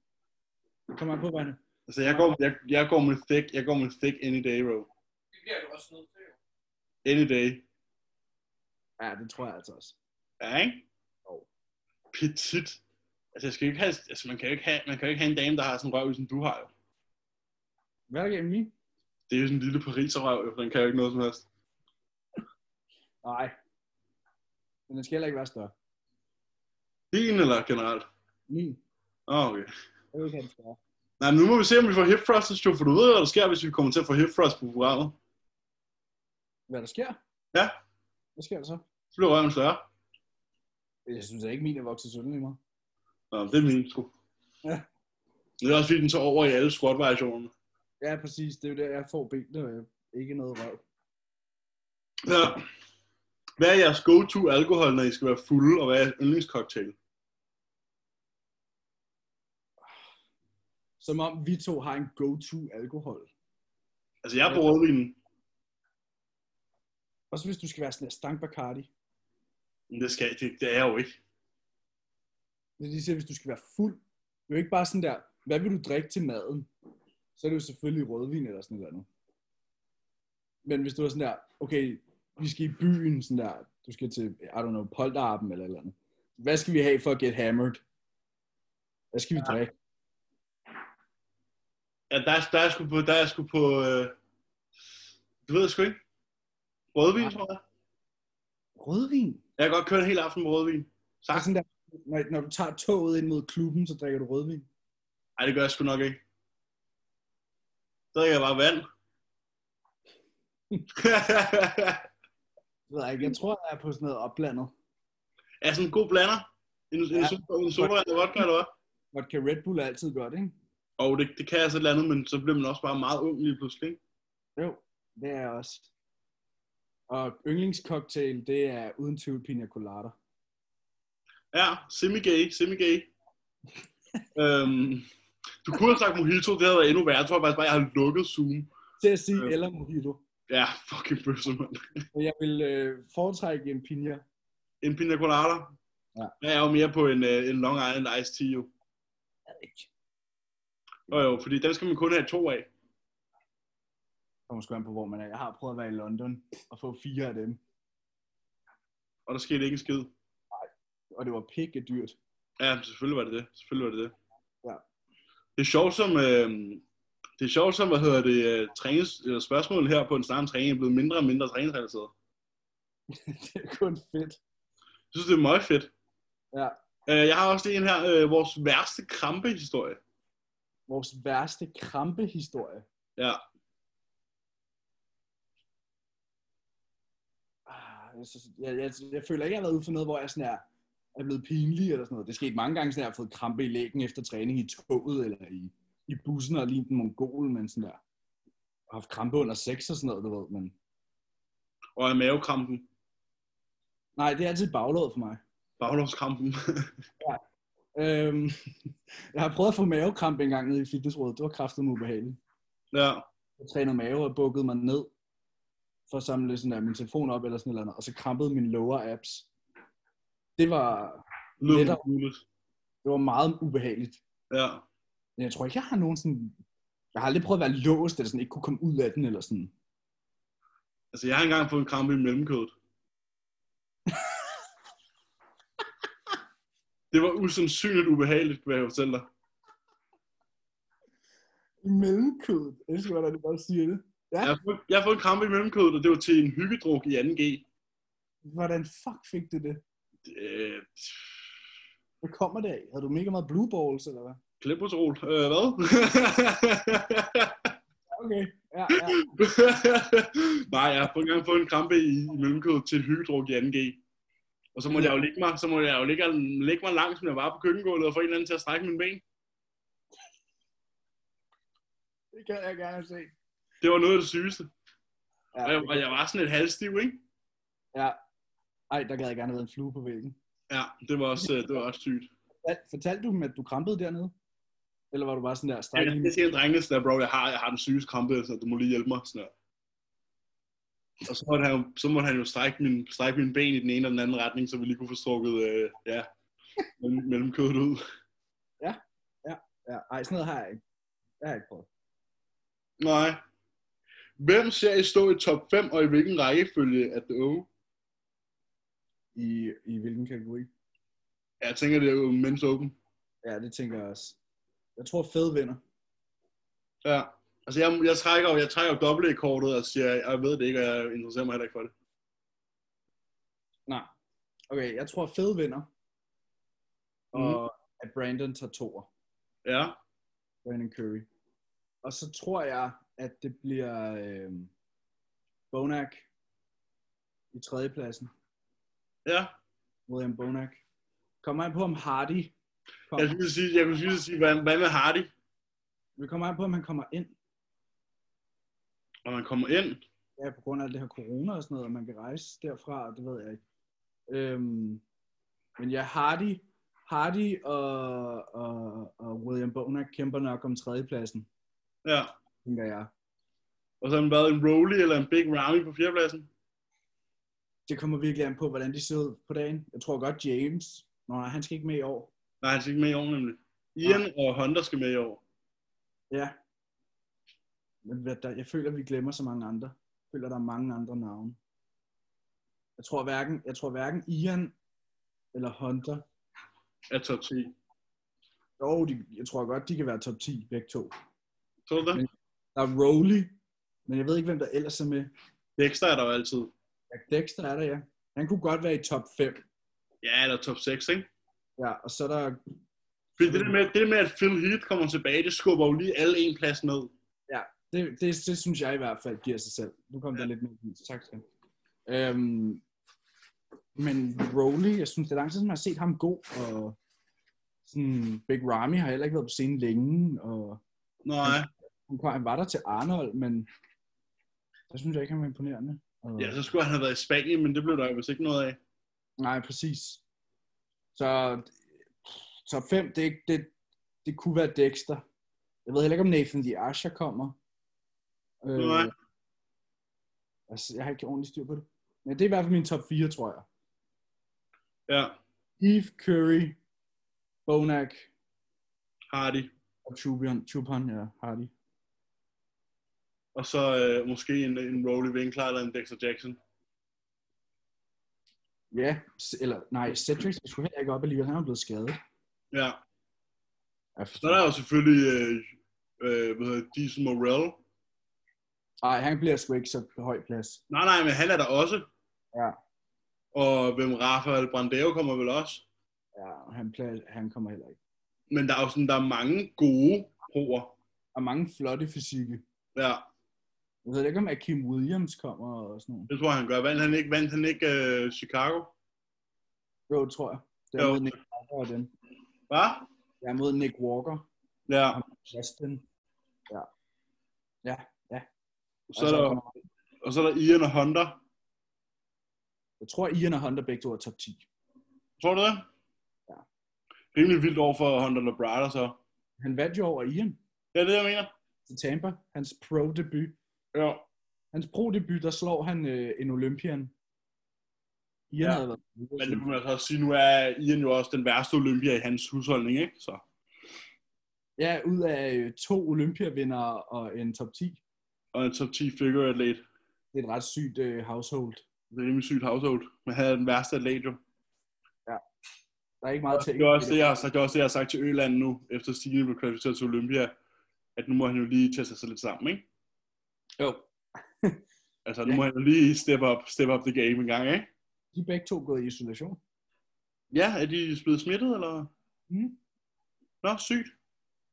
[SPEAKER 1] Kom an på, hvad det-
[SPEAKER 2] Altså, jeg går, jeg, jeg går med thick, jeg går med thick any day, bro.
[SPEAKER 3] Det bliver du også nødt til, jo.
[SPEAKER 2] Any day.
[SPEAKER 1] Ja, det tror jeg altså også.
[SPEAKER 2] Ja, ikke?
[SPEAKER 1] Jo.
[SPEAKER 2] Petit. Altså, jeg skal jo ikke have, altså, man kan jo ikke have, man kan jo ikke have en dame, der har sådan en røv, som du har jo.
[SPEAKER 1] Hvad er der gennem min?
[SPEAKER 2] Det er jo sådan en lille pariserrøv, jo. Den kan jo ikke noget som helst.
[SPEAKER 1] Nej. Men den skal heller ikke være større.
[SPEAKER 2] Din eller generelt?
[SPEAKER 1] Min.
[SPEAKER 2] Åh, oh, okay.
[SPEAKER 1] Jeg ved ikke, hvad den skal være.
[SPEAKER 2] Nej, men nu må vi se, om vi får hip thrusters, jo, for du ved jo, hvad der sker, hvis vi kommer til at få hip thrust på programmet.
[SPEAKER 1] Hvad der sker?
[SPEAKER 2] Ja.
[SPEAKER 1] Hvad sker der så?
[SPEAKER 2] Så bliver røven større.
[SPEAKER 1] Jeg synes da ikke, min er vokset sådan i mig.
[SPEAKER 2] Nå, det er min sgu.
[SPEAKER 1] Ja.
[SPEAKER 2] Det er også fordi, den så over i alle squat-variationerne.
[SPEAKER 1] Ja, præcis. Det er jo der, jeg får benene, og jeg- ikke noget røv.
[SPEAKER 2] Ja. Hvad er jeres go-to alkohol, når I skal være fulde, og hvad er jeres yndlingscocktail?
[SPEAKER 1] Som om vi to har en go-to alkohol.
[SPEAKER 2] Altså, jeg bruger rødvinen.
[SPEAKER 1] Også hvis du skal være sådan en stank Bacardi.
[SPEAKER 2] Men det, skal, det, det er jeg jo ikke.
[SPEAKER 1] Hvis de siger, hvis du skal være fuld, det er jo ikke bare sådan der, hvad vil du drikke til maden? Så er det jo selvfølgelig rødvin eller sådan noget andet. Men hvis du er sådan der, okay, vi skal i byen, sådan der, du skal til, I don't know, Polterappen eller et eller andet. Hvad skal vi have for at get hammered? Hvad skal vi drikke?
[SPEAKER 2] Ja, der, er- der er sgu på, der er sgu på, øh, du ved jeg sgu ikke. Rødvin, tror jeg.
[SPEAKER 1] Rødvin?
[SPEAKER 2] Jeg kan godt køre en hel aften med rødvin.
[SPEAKER 1] Så
[SPEAKER 2] Tak.
[SPEAKER 1] sådan der, når, når du tager toget ind mod klubben, så drikker du rødvin.
[SPEAKER 2] Nej, det gør jeg sgu nok ikke. Så drikker jeg bare vand.
[SPEAKER 1] Jeg, ved jeg ikke, jeg tror, jeg er på sådan noget opblandet.
[SPEAKER 2] er sådan en god blander? En, en,
[SPEAKER 1] Ja.
[SPEAKER 2] ja. en soda eller vodka, eller hvad?
[SPEAKER 1] Vodka Red Bull er altid godt, ikke?
[SPEAKER 2] Og det, det kan jeg så et eller andet, men så bliver man også bare meget ung lige pludselig. ikke?
[SPEAKER 1] Jo, det er jeg også. Og yndlingscocktail, det er uden tvivl pina colada.
[SPEAKER 2] Ja, semi-gay, semi-gay. øhm, du kunne have sagt mojito, det havde været endnu værre. Jeg tror faktisk bare, jeg har lukket Zoom.
[SPEAKER 1] Til at sige,
[SPEAKER 2] Ja.
[SPEAKER 1] ja. eller mojito.
[SPEAKER 2] Ja, fucking bøsse, mand.
[SPEAKER 1] Men jeg vil øh, foretrække en pina.
[SPEAKER 2] En pina colada.
[SPEAKER 1] Ja.
[SPEAKER 2] Jeg er jo mere på en, øh, en Long Island Ice Tea, jo. Jo, jo, fordi den skal man kun have to af.
[SPEAKER 1] Det kommer sgu an på, hvor man er. Jeg har prøvet at være i London og få fire af dem.
[SPEAKER 2] Og der skete ikke en skid.
[SPEAKER 1] Og det var pikke dyrt.
[SPEAKER 2] Ja, selvfølgelig var det det. Selvfølgelig var det det.
[SPEAKER 1] Ja.
[SPEAKER 2] Det er sjovt som, øh, det er sjovt som, hvad hedder det, øh, trænings, eller spørgsmålet her på en snart træning er blevet mindre og mindre træningsrelateret.
[SPEAKER 1] det er kun fedt.
[SPEAKER 2] Jeg synes, det er meget fedt.
[SPEAKER 1] Ja.
[SPEAKER 2] Øh, jeg har også lige en her, øh, vores værste krampehistorie.
[SPEAKER 1] Vores værste krampehistorie.
[SPEAKER 2] Ja.
[SPEAKER 1] Ah, jeg, synes- jeg, jeg, jeg føler ikke, jeg har været ude for noget, hvor jeg sådan er, er blevet pinlig eller sådan noget. Det skete mange gange, sådan, at jeg har fået krampe i lægen efter træning i toget eller i, i bussen og lignet en mongol, men sådan der. Har haft krampe under sex og sådan noget, du ved. Men
[SPEAKER 2] Og af mavekrampen.
[SPEAKER 1] nej, det er altid baglåret for mig.
[SPEAKER 2] Baglovskrampen.
[SPEAKER 1] Øhm, jeg har prøvet at få mavekramp en gang nede i fitnessrådet. Det var kraftigt ubehageligt.
[SPEAKER 2] ja.
[SPEAKER 1] Jeg trænede mave og bukkede mig ned for at samle sådan der, min telefon op eller sådan noget, og så krampede mine lower abs. Det var,
[SPEAKER 2] Lyder
[SPEAKER 1] Lettere.
[SPEAKER 2] umuligt.
[SPEAKER 1] det var meget ubehageligt.
[SPEAKER 2] Ja.
[SPEAKER 1] Men jeg tror ikke, jeg har nogen sådan... Jeg har aldrig prøvet at være låst, eller sådan ikke kunne komme ud af den, eller sådan.
[SPEAKER 2] Altså, jeg har engang fået en krampe i mellemkødet. det var usandsynligt ubehageligt, hvad jeg fortæller dig.
[SPEAKER 1] I mellemkødet. Jeg elsker, hvordan du bare siger det.
[SPEAKER 2] Jeg har, fået, jeg har fået en krampe i mellemkødet, og det var til en hyggedruk i 2G.
[SPEAKER 1] Hvordan fuck fik du det?
[SPEAKER 2] Øh,
[SPEAKER 1] Hvad kommer det af? Havde du mega meget blue balls, eller hvad?
[SPEAKER 2] Klipotrol. Øh, hvad?
[SPEAKER 1] Okay, ja, ja.
[SPEAKER 2] Nej, jeg har fået engang fået en krampe i, i mellemkødet til et hyggedruk i 2G. Og så måtte jeg jo ligge mig, så måtte jeg jo ligge, ligge mig langt, som jeg var på køkkengulvet, og få en eller anden til at strække mine ben.
[SPEAKER 1] Det kan jeg gerne se.
[SPEAKER 2] Det var noget af det sygeste.
[SPEAKER 1] Ja,
[SPEAKER 2] Og jeg, og jeg var sådan et halvstiv, ikke?
[SPEAKER 1] ja. Ej, der gad jeg gerne have været en flue på væggen.
[SPEAKER 2] Ja, det var også, øh, det var også sygt.
[SPEAKER 1] Hvad- Fortalte du dem, at du krampede dernede? Eller var du bare sådan der
[SPEAKER 2] Jeg,
[SPEAKER 1] stræk?
[SPEAKER 2] jeg siger til drengene sådan der, bro, jeg har, jeg har den sygeste krampe, så du må lige hjælpe mig. Sådan der. Og så måtte, han, jo- så måtte han jo strække min, strække mine ben i den ene og den anden retning, så vi lige kunne få strukket øh, ja, mellem, mellem kødet ud.
[SPEAKER 1] Ja, ej, sådan noget har jeg ikke. Jeg har ikke prøvet.
[SPEAKER 2] Nej. Hvem ser I stå i top 5, og i hvilken rækkefølge at det unge?
[SPEAKER 1] I, I hvilken kategori?
[SPEAKER 2] Jeg tænker, det er jo Men's Open.
[SPEAKER 1] Ja, det tænker jeg også. Jeg tror, fed vinder.
[SPEAKER 2] Ja. Altså, jeg, jeg trækker jo jeg trækker jo dobbelt i kortet og siger, jeg ved det ikke, og jeg interesserer mig heller ikke for det.
[SPEAKER 1] Nej. Okay, jeg tror Fed vinder. Og at Brandon tager toer.
[SPEAKER 2] Ja.
[SPEAKER 1] Brandon Curry. Og så tror jeg, at det bliver øh, Bonak i tredjepladsen.
[SPEAKER 2] Ja.
[SPEAKER 1] William Bonak. Kommer an på, om Hardy... Kommer,
[SPEAKER 2] Jeg skulle sige, jeg kunne sige, sige hvad, hvad med Hardy?
[SPEAKER 1] Vi kommer an på, om han kommer ind.
[SPEAKER 2] Når man kommer ind,
[SPEAKER 1] Ja, på grund af alt det her corona og sådan noget, og man kan rejse derfra, det ved jeg ikke. Øhm, men ja, Hardy, Hardy og, og, og William Bonak kæmper nok om tredjepladsen,
[SPEAKER 2] ja.
[SPEAKER 1] tænker jeg.
[SPEAKER 2] Og så har han været en Rowley eller en Big Ramy på fjerdepladsen.
[SPEAKER 1] Det kommer virkelig an på, hvordan de ser ud på dagen. Jeg tror godt, James, Nå, nej, han skal ikke med i år.
[SPEAKER 2] Nej, han skal ikke med i år nemlig. Ian og Hunter skal med i år.
[SPEAKER 1] Ja. Men hvad der, jeg føler, vi glemmer så mange andre. Jeg føler, der er mange andre navne. Jeg tror hverken, jeg tror hverken Ian eller Hunter.
[SPEAKER 2] Er top 10.
[SPEAKER 1] Jo, de, jeg tror godt, de kan være top 10 begge to.
[SPEAKER 2] Tror du det?
[SPEAKER 1] Men- Der er Rowley, men jeg ved ikke, hvem der ellers er med.
[SPEAKER 2] Dexter er der jo altid.
[SPEAKER 1] Ja, Dexter er der, ja. Han kunne godt være i top 5.
[SPEAKER 2] Ja, eller top 6, ikke?
[SPEAKER 1] Ja, og så er der...
[SPEAKER 2] Fordi det, der med, det med, at Phil Heath kommer tilbage, det skubber jo lige alle en plads ned.
[SPEAKER 1] Det, det, det synes jeg i hvert fald giver sig selv. Nu kom ja. der lidt mere. lys. Tak skal du have. øhm, Men Rowley, jeg synes, det er lang tid, siden, man har set ham god, og sådan, Big Ramy har heller ikke været på scenen længe, og
[SPEAKER 2] Nej.
[SPEAKER 1] han kom- han var der til Arnold, men der synes jeg ikke, han var imponerende. Og,
[SPEAKER 2] Ja, så skulle han have været i Spanien, men det blev der jo vist ikke noget af.
[SPEAKER 1] Nej, præcis. Så top 5, det, det, det kunne være Dexter. Jeg ved heller ikke, om Nathan de Asher kommer. Øh,
[SPEAKER 2] Nej.
[SPEAKER 1] altså, jeg har ikke ordentligt styr på det. Men det er i hvert fald min top 4, tror jeg.
[SPEAKER 2] Ja,
[SPEAKER 1] Eve, Curry, Bonak
[SPEAKER 2] Hardy.
[SPEAKER 1] og Chubion. Chupan, ja, Hardy.
[SPEAKER 2] Og så øh, måske en, en Rowley Winkler eller en Dexter Jackson.
[SPEAKER 1] Ja, s- eller nej, Cedric jeg skulle heller ikke op alligevel. Han er blevet skadet.
[SPEAKER 2] Ja.
[SPEAKER 1] Ja,
[SPEAKER 2] Så er der jo selvfølgelig, øh, øh, hvad hedder det, Diesel Morrell.
[SPEAKER 1] Ej, han bliver sgu ikke så høj plads.
[SPEAKER 2] Nej, nej, men han er der også.
[SPEAKER 1] Ja.
[SPEAKER 2] Og hvem Rafael Brandeo kommer vel også.
[SPEAKER 1] Ja, han, plads, han kommer heller ikke.
[SPEAKER 2] Men der er jo sådan, der er mange gode proer.
[SPEAKER 1] Og mange flotte fysikke.
[SPEAKER 2] Ja.
[SPEAKER 1] Jeg ved ikke, om Akim Williams kommer og sådan noget.
[SPEAKER 2] Det tror jeg, han gør. Vandt han ikke, vandt han ikke øh, Chicago?
[SPEAKER 1] Jo, det tror jeg. Det er
[SPEAKER 2] Jo.
[SPEAKER 1] mod Nick Walker og dem.
[SPEAKER 2] Hvad?
[SPEAKER 1] Jeg er mod Nick Walker.
[SPEAKER 2] Ja.
[SPEAKER 1] Justin. Ja. Ja, ja.
[SPEAKER 2] Så er
[SPEAKER 1] Altså,
[SPEAKER 2] der,
[SPEAKER 1] kommer-
[SPEAKER 2] og så er der Ian og Hunter.
[SPEAKER 1] Jeg tror, Ian og Hunter begge to er top 10.
[SPEAKER 2] Tror du det?
[SPEAKER 1] Ja.
[SPEAKER 2] Rimelig vildt over for Hunter Labrada, så.
[SPEAKER 1] Han vandt jo over Ian
[SPEAKER 2] Det er det, jeg mener.
[SPEAKER 1] til Tampa. Hans pro-debut.
[SPEAKER 2] Ja.
[SPEAKER 1] Hans pro-debut, der slår han øh, en Olympian. Ian
[SPEAKER 2] Ja.
[SPEAKER 1] ja. havde været
[SPEAKER 2] Men det må man altså også sige, nu er Ian jo også den værste Olympia i hans husholdning, ikke? Så.
[SPEAKER 1] Ja, ud af øh, to Olympiavinder og en top 10.
[SPEAKER 2] Og en top 10 figure atlet.
[SPEAKER 1] Det er et ret sygt øh, household.
[SPEAKER 2] Det er rimelig sygt household. Men han er den værste atlet jo.
[SPEAKER 1] Der er ikke meget til.
[SPEAKER 2] Det er også det, jeg har sagt, det er også det, jeg har sagt til Øland nu, efter Stine blev kvalificeret til Olympia, at nu må han jo lige tage sig lidt sammen, ikke?
[SPEAKER 1] Jo.
[SPEAKER 2] Altså, nu
[SPEAKER 1] Ja.
[SPEAKER 2] må han jo lige step up, step up the game en gang, ikke?
[SPEAKER 1] De er begge to gået i isolation.
[SPEAKER 2] Ja, er de blevet smittet, eller?
[SPEAKER 1] Mm.
[SPEAKER 2] Nå, sygt.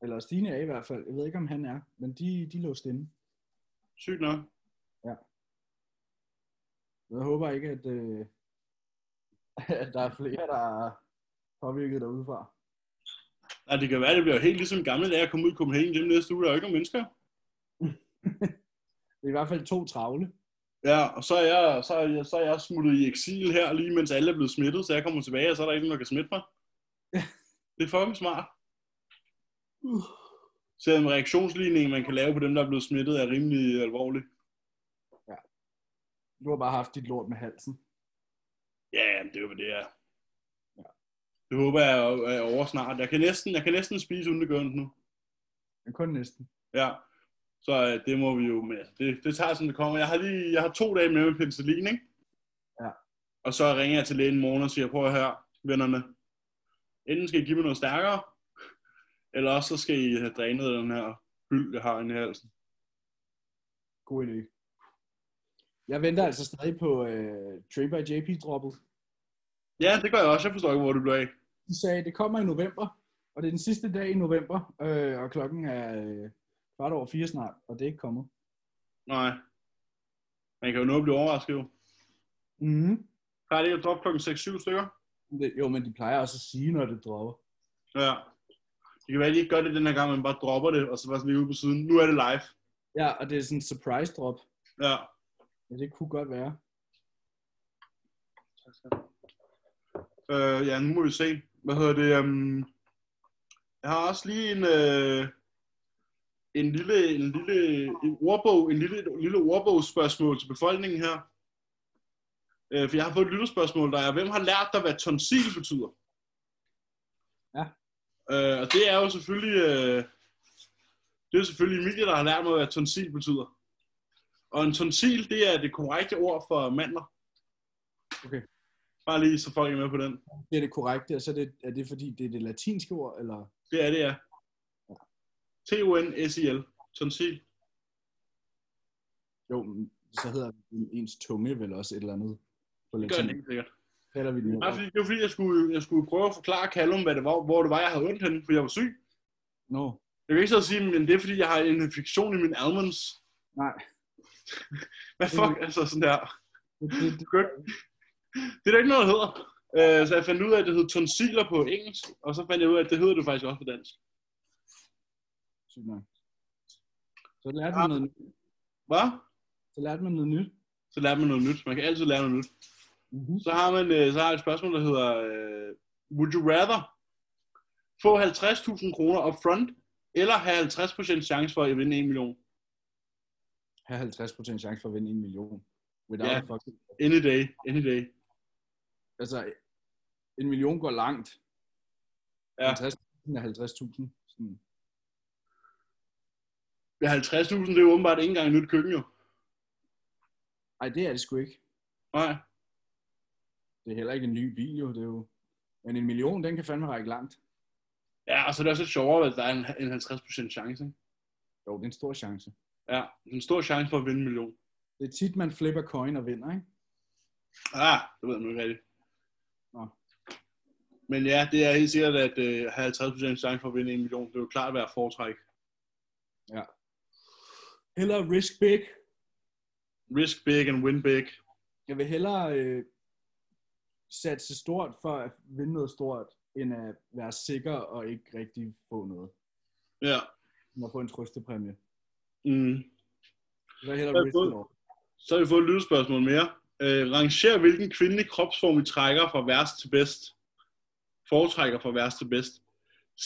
[SPEAKER 1] Eller Stine er i hvert fald. Jeg ved ikke, om han er. Men de, de lå stille.
[SPEAKER 2] Sygt nok.
[SPEAKER 1] Jeg håber ikke, at, øh, at der er flere, der er påvirket derudefra.
[SPEAKER 2] Nej, det kan være, det bliver helt ligesom gamle dage at komme ud i Copenhagen hjemme næste uge. Der er jo ikke nogen mennesker.
[SPEAKER 1] Det er i hvert fald to travle.
[SPEAKER 2] Ja, og så er, jeg, så, er jeg, så er jeg smuttet i eksil her, lige mens alle er blevet smittet, så jeg kommer tilbage, og så er der ikke nogen, der kan smitte mig. Det er fucking smart.
[SPEAKER 1] Uh.
[SPEAKER 2] Selvom reaktionsligningen, man kan lave på dem, der er blevet smittet, er rimelig alvorlig.
[SPEAKER 1] Du har bare haft dit lort med halsen.
[SPEAKER 2] Ja, jamen, det er jo, hvad det er. Det håber jeg er- er over snart. Jeg kan næsten, jeg kan næsten spise undergørende nu.
[SPEAKER 1] Men kun næsten.
[SPEAKER 2] Ja. Så øh, det må vi jo med. Det, det tager, som det kommer. Jeg har, lige, jeg har to dage med med penicillin, ikke?
[SPEAKER 1] Ja.
[SPEAKER 2] Og så ringer jeg til lægen i morgen og siger, prøv at høre, vennerne. Enten skal I give mig noget stærkere, eller også så skal I have drænet den her hyld, jeg har inde i halsen.
[SPEAKER 1] God idé. Jeg venter altså stadig på øh, Trey by JP-droppet.
[SPEAKER 2] Ja, det gør jeg også. Jeg forstår ikke, hvor det blev af.
[SPEAKER 1] De sagde, at det kommer i november, og det er den sidste dag i november, øh, og klokken er øh, kvart over fire snart, og det er ikke kommet.
[SPEAKER 2] Nej. Man kan jo nå at blive overrasket jo.
[SPEAKER 1] Mm.
[SPEAKER 2] Plejer det ikke at droppe klokken 6-7 stykker?
[SPEAKER 1] Det, jo, men de plejer også at sige, når det dropper.
[SPEAKER 2] Ja. Det kan være, at de ikke gør det den her gang, men bare dropper det, og så bare sådan lige ude på siden. Nu er det live.
[SPEAKER 1] Ja, og det er sådan en surprise-drop.
[SPEAKER 2] Ja.
[SPEAKER 1] Ja, det kunne godt være.
[SPEAKER 2] Øh, ja, nu må vi se. Hvad hedder det? Um... Jeg har også lige en, øh... en lille, en lille en ordbog, en lille, et lille ordbogsspørgsmål til befolkningen her. Øh, for jeg har fået et lytterspørgsmål, der er, hvem har lært dig, hvad tonsil betyder?
[SPEAKER 1] Ja.
[SPEAKER 2] Øh, og det er jo selvfølgelig, øh... det er selvfølgelig Emilie, der har lært mig, hvad tonsil betyder. Og en tonsil, det er det korrekte ord for mandler.
[SPEAKER 1] Okay.
[SPEAKER 2] Bare lige, så folk er med på den.
[SPEAKER 1] Det er det korrekte, og så er det, er det fordi, det er det latinske ord, eller?
[SPEAKER 2] Det er det, ja. T-O-N-S-I-L. Tonsil.
[SPEAKER 1] Jo, men så hedder det ens tunge vel også et eller andet. På
[SPEAKER 2] Det gør den
[SPEAKER 1] latin.
[SPEAKER 2] ikke sikkert.
[SPEAKER 1] Kalder vi det.
[SPEAKER 2] Bare fordi, det var fordi, jeg skulle, jeg skulle prøve at forklare Callum, hvad det var, hvor det var, jeg havde ondt henne, fordi jeg var syg.
[SPEAKER 1] Nå,
[SPEAKER 2] Jeg kan ikke så sige, men det er fordi, jeg har en infektion i mine almonds.
[SPEAKER 1] Nej.
[SPEAKER 2] hvad fuck, altså sådan der.
[SPEAKER 1] det, det, det,
[SPEAKER 2] Det er der ikke noget, der hedder. Øh, så jeg fandt ud af, at det hed tonsiler på engelsk, og så fandt jeg ud af, at det hedder det faktisk også på dansk.
[SPEAKER 1] Sygt nok. Så lærte
[SPEAKER 2] Ja.
[SPEAKER 1] man noget nyt.
[SPEAKER 2] Hvad?
[SPEAKER 1] Så lærte man noget nyt.
[SPEAKER 2] Så lærer man noget nyt. Man kan altid lære noget nyt.
[SPEAKER 1] Mm-hmm.
[SPEAKER 2] Så har man øh, så har jeg et spørgsmål, der hedder, øh, would you rather få 50.000 kroner up front, eller have 50% chance for at vinde 1 million?
[SPEAKER 1] Have 50% chance for at vinde en million. Without
[SPEAKER 2] Ja.
[SPEAKER 1] yeah. fucking,
[SPEAKER 2] Any day, any day.
[SPEAKER 1] altså, en million går langt.
[SPEAKER 2] Ja.
[SPEAKER 1] 50.000 er 50.000. Sådan.
[SPEAKER 2] Ja, 50.000, det er jo åbenbart ikke engang et nyt køkken, jo.
[SPEAKER 1] Ej, det er det sgu ikke.
[SPEAKER 2] Nej.
[SPEAKER 1] Det er heller ikke en ny bil, jo. Det er jo... Men en million, den kan fandme række langt.
[SPEAKER 2] Ja, og så er det også lidt sjovere, at der er en, en 50% chance. ikke?
[SPEAKER 1] Jo, det er en stor chance.
[SPEAKER 2] Ja, en stor chance for at vinde en million.
[SPEAKER 1] Det er tit, man flipper coin og vinder, ikke?
[SPEAKER 2] Ah, det ved jeg nu ikke rigtigt.
[SPEAKER 1] Nå.
[SPEAKER 2] Men ja, det er helt sikkert, at øh, have 50% chance for at vinde en million, det er jo klart at være foretræk.
[SPEAKER 1] Eller risk big.
[SPEAKER 2] Risk big and win big.
[SPEAKER 1] Jeg vil hellere øh, satse stort for at vinde noget stort, end at være sikker og ikke rigtig få noget.
[SPEAKER 2] Ja.
[SPEAKER 1] End at få en trøstepræmie.
[SPEAKER 2] Mm.
[SPEAKER 1] Jeg vil hellere
[SPEAKER 2] Ja,
[SPEAKER 1] risk
[SPEAKER 2] både-
[SPEAKER 1] it all.
[SPEAKER 2] Så har vi fået et lytterspørgsmål mere. Øh, ranger hvilken kvindelig kropsform vi trækker fra værst til bedst. Foretrækker fra værst til bedst.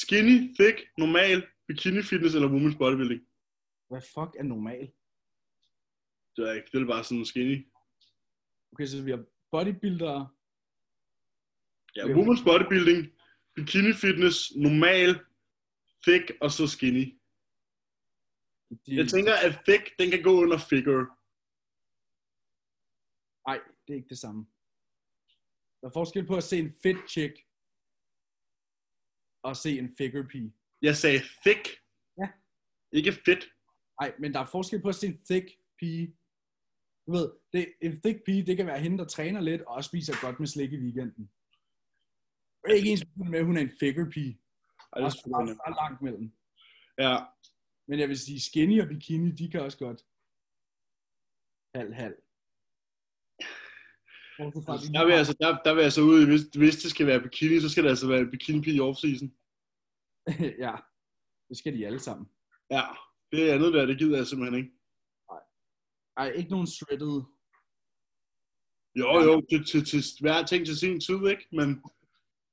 [SPEAKER 2] Skinny, thick, normal, bikini fitness eller women's bodybuilding.
[SPEAKER 1] Hvad fuck er normal?
[SPEAKER 2] Det er ikke, det er bare sådan skinny.
[SPEAKER 1] Okay, så vi har bodybuildere.
[SPEAKER 2] Ja, women's bodybuilding, bikini fitness, normal, thick og så skinny.
[SPEAKER 1] De,
[SPEAKER 2] Jeg tænker, at thick, den kan gå under figure.
[SPEAKER 1] Nej, det er ikke det samme. Der er forskel på at se en fit chick, og se en figure pige.
[SPEAKER 2] Jeg sagde thick.
[SPEAKER 1] Ja.
[SPEAKER 2] Ikke fedt.
[SPEAKER 1] Nej, men der er forskel på at se en thick pige. Du ved, det, en thick pige, det kan være hende, der træner lidt, og også spiser godt med slik i weekenden. Det er ikke ens betydende med, at hun er en figure pige. Der
[SPEAKER 2] Ej, det
[SPEAKER 1] er
[SPEAKER 2] er sgu
[SPEAKER 1] så-
[SPEAKER 2] nemt.
[SPEAKER 1] så langt mellem.
[SPEAKER 2] Ja,
[SPEAKER 1] Men jeg vil sige, skinny og bikini, de kan også godt. Halv, halv. Bortset fra, at de-
[SPEAKER 2] der vil jeg altså, der, der vil jeg så ud, i, hvis, hvis det skal være bikini, så skal det altså være en bikini i off-season.
[SPEAKER 1] ja, det skal de alle sammen.
[SPEAKER 2] Ja, det andet der, det gider jeg simpelthen ikke.
[SPEAKER 1] Ej, ikke nogen shredded.
[SPEAKER 2] Jo,
[SPEAKER 1] Ja.
[SPEAKER 2] jo, til, til, til hver ting til sin tid, ikke? Men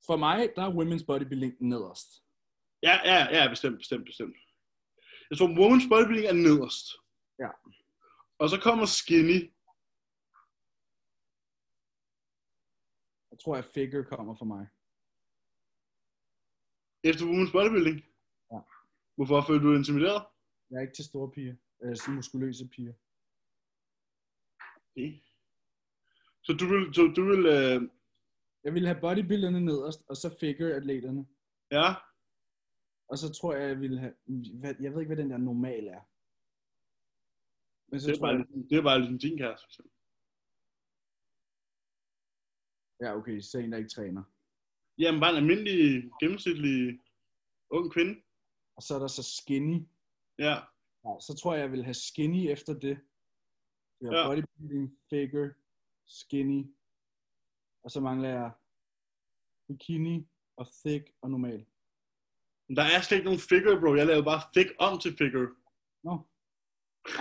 [SPEAKER 1] For mig, der er women's bodybuilding nederst.
[SPEAKER 2] ja, ja, ja, bestemt, bestemt, bestemt. Jeg tror, women's bodybuilding er nederst.
[SPEAKER 1] Ja.
[SPEAKER 2] Og så kommer skinny.
[SPEAKER 1] Jeg tror, at figure kommer for mig.
[SPEAKER 2] Efter women's bodybuilding?
[SPEAKER 1] Ja.
[SPEAKER 2] Hvorfor føler du dig intimideret?
[SPEAKER 1] Jeg er ikke til store piger. Eller sådan muskuløse piger.
[SPEAKER 2] Okay. Så du vil, så du vil, øh,
[SPEAKER 1] Jeg ville have bodybuilderne nederst, og så figure-atleterne.
[SPEAKER 2] ja,
[SPEAKER 1] Og så tror jeg, jeg ville have... hvad- Jeg ved ikke, hvad den der normal er. Men så
[SPEAKER 2] det er,
[SPEAKER 1] tror
[SPEAKER 2] bare,
[SPEAKER 1] jeg...
[SPEAKER 2] det er bare ligesom din kæreste. for eksempel.
[SPEAKER 1] Ja, okay, så en, der ikke træner.
[SPEAKER 2] Jamen, bare en almindelig, gennemsnitlig ung kvinde.
[SPEAKER 1] Og så er der så skinny.
[SPEAKER 2] Ja,
[SPEAKER 1] Ja, så tror jeg, jeg ville have skinny efter det. Jeg har
[SPEAKER 2] Ja.
[SPEAKER 1] bodybuilding, figure, skinny. Og så mangler jeg bikini og thick og normal.
[SPEAKER 2] Men Der er slet ikke nogen figure, bro. Jeg lavede bare thick om til figure.
[SPEAKER 1] Nå.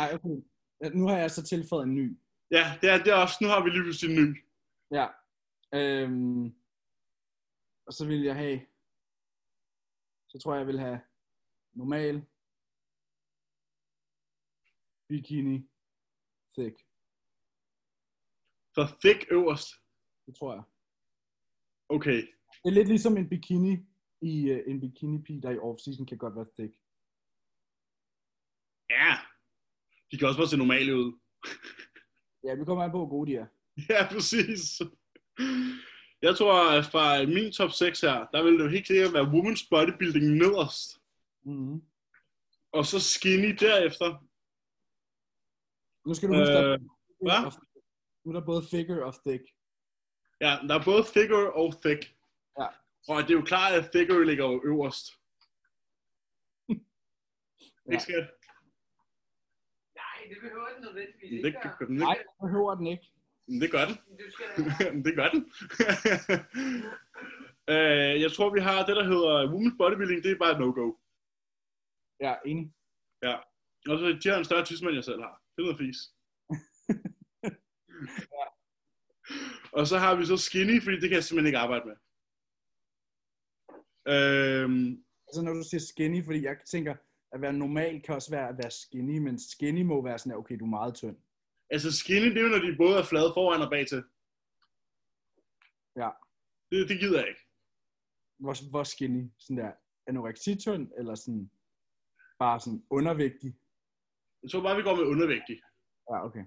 [SPEAKER 1] Ej, okay. Ja, Nu har jeg så tilføjet en ny.
[SPEAKER 2] Ja, det er, det er også, nu har vi lige pludselig en ny.
[SPEAKER 1] Ja. Øhm, og så vil jeg have... Så tror jeg, jeg vil have normal, bikini, thick.
[SPEAKER 2] Så thick øverst.
[SPEAKER 1] Det tror jeg.
[SPEAKER 2] Okay.
[SPEAKER 1] Det er lidt ligesom en bikini i uh, en bikini-pige, der i off-season kan godt være thick.
[SPEAKER 2] Ja. De kan også bare se normale ud.
[SPEAKER 1] Ja, vi kommer an på, hvor gode de er.
[SPEAKER 2] Ja, præcis. Jeg tror, at fra min top 6 her, der vil det jo helt sikkert være women's bodybuilding nederst.
[SPEAKER 1] Mm-hmm.
[SPEAKER 2] Og så skinny derefter.
[SPEAKER 1] Nu skal du huske,
[SPEAKER 2] Øh,
[SPEAKER 1] øh,
[SPEAKER 2] hva?
[SPEAKER 1] der, nu er der både figure og thick.
[SPEAKER 2] Ja, der er både figure og thick.
[SPEAKER 1] Ja.
[SPEAKER 2] Og det er jo klart, at figure ligger jo øverst.
[SPEAKER 1] Ja.
[SPEAKER 2] Ikke skat?
[SPEAKER 3] Nej, det behøver den nødvendigvis
[SPEAKER 2] Men
[SPEAKER 3] ikke.
[SPEAKER 2] Det
[SPEAKER 3] gøre.
[SPEAKER 2] gør den
[SPEAKER 1] Nej,
[SPEAKER 2] ikke.
[SPEAKER 1] det behøver den ikke.
[SPEAKER 2] Men Det gør den.
[SPEAKER 3] Du skal da...
[SPEAKER 2] Men det gør den. øh, jeg tror, vi har det, der hedder women's bodybuilding, det er bare et no-go.
[SPEAKER 1] Ja, enig.
[SPEAKER 2] Og så de har en større tidsmand, jeg selv har. Det er noget fis. Og så har vi så skinny, fordi det kan jeg simpelthen ikke arbejde med. Øhm,
[SPEAKER 1] Altså når du siger skinny, fordi jeg tænker, at være normal kan også være at være skinny, men skinny må være sådan, at okay, du er meget tynd.
[SPEAKER 2] altså skinny, det er jo, når de både er flade foran og bagtil.
[SPEAKER 1] Ja.
[SPEAKER 2] Det, det gider jeg ikke.
[SPEAKER 1] Hvor, hvor skinny? Sådan der anoreksitynd, eller sådan bare sådan undervægtig?
[SPEAKER 2] Jeg tror bare, vi går med undervægtig.
[SPEAKER 1] Ja, okay.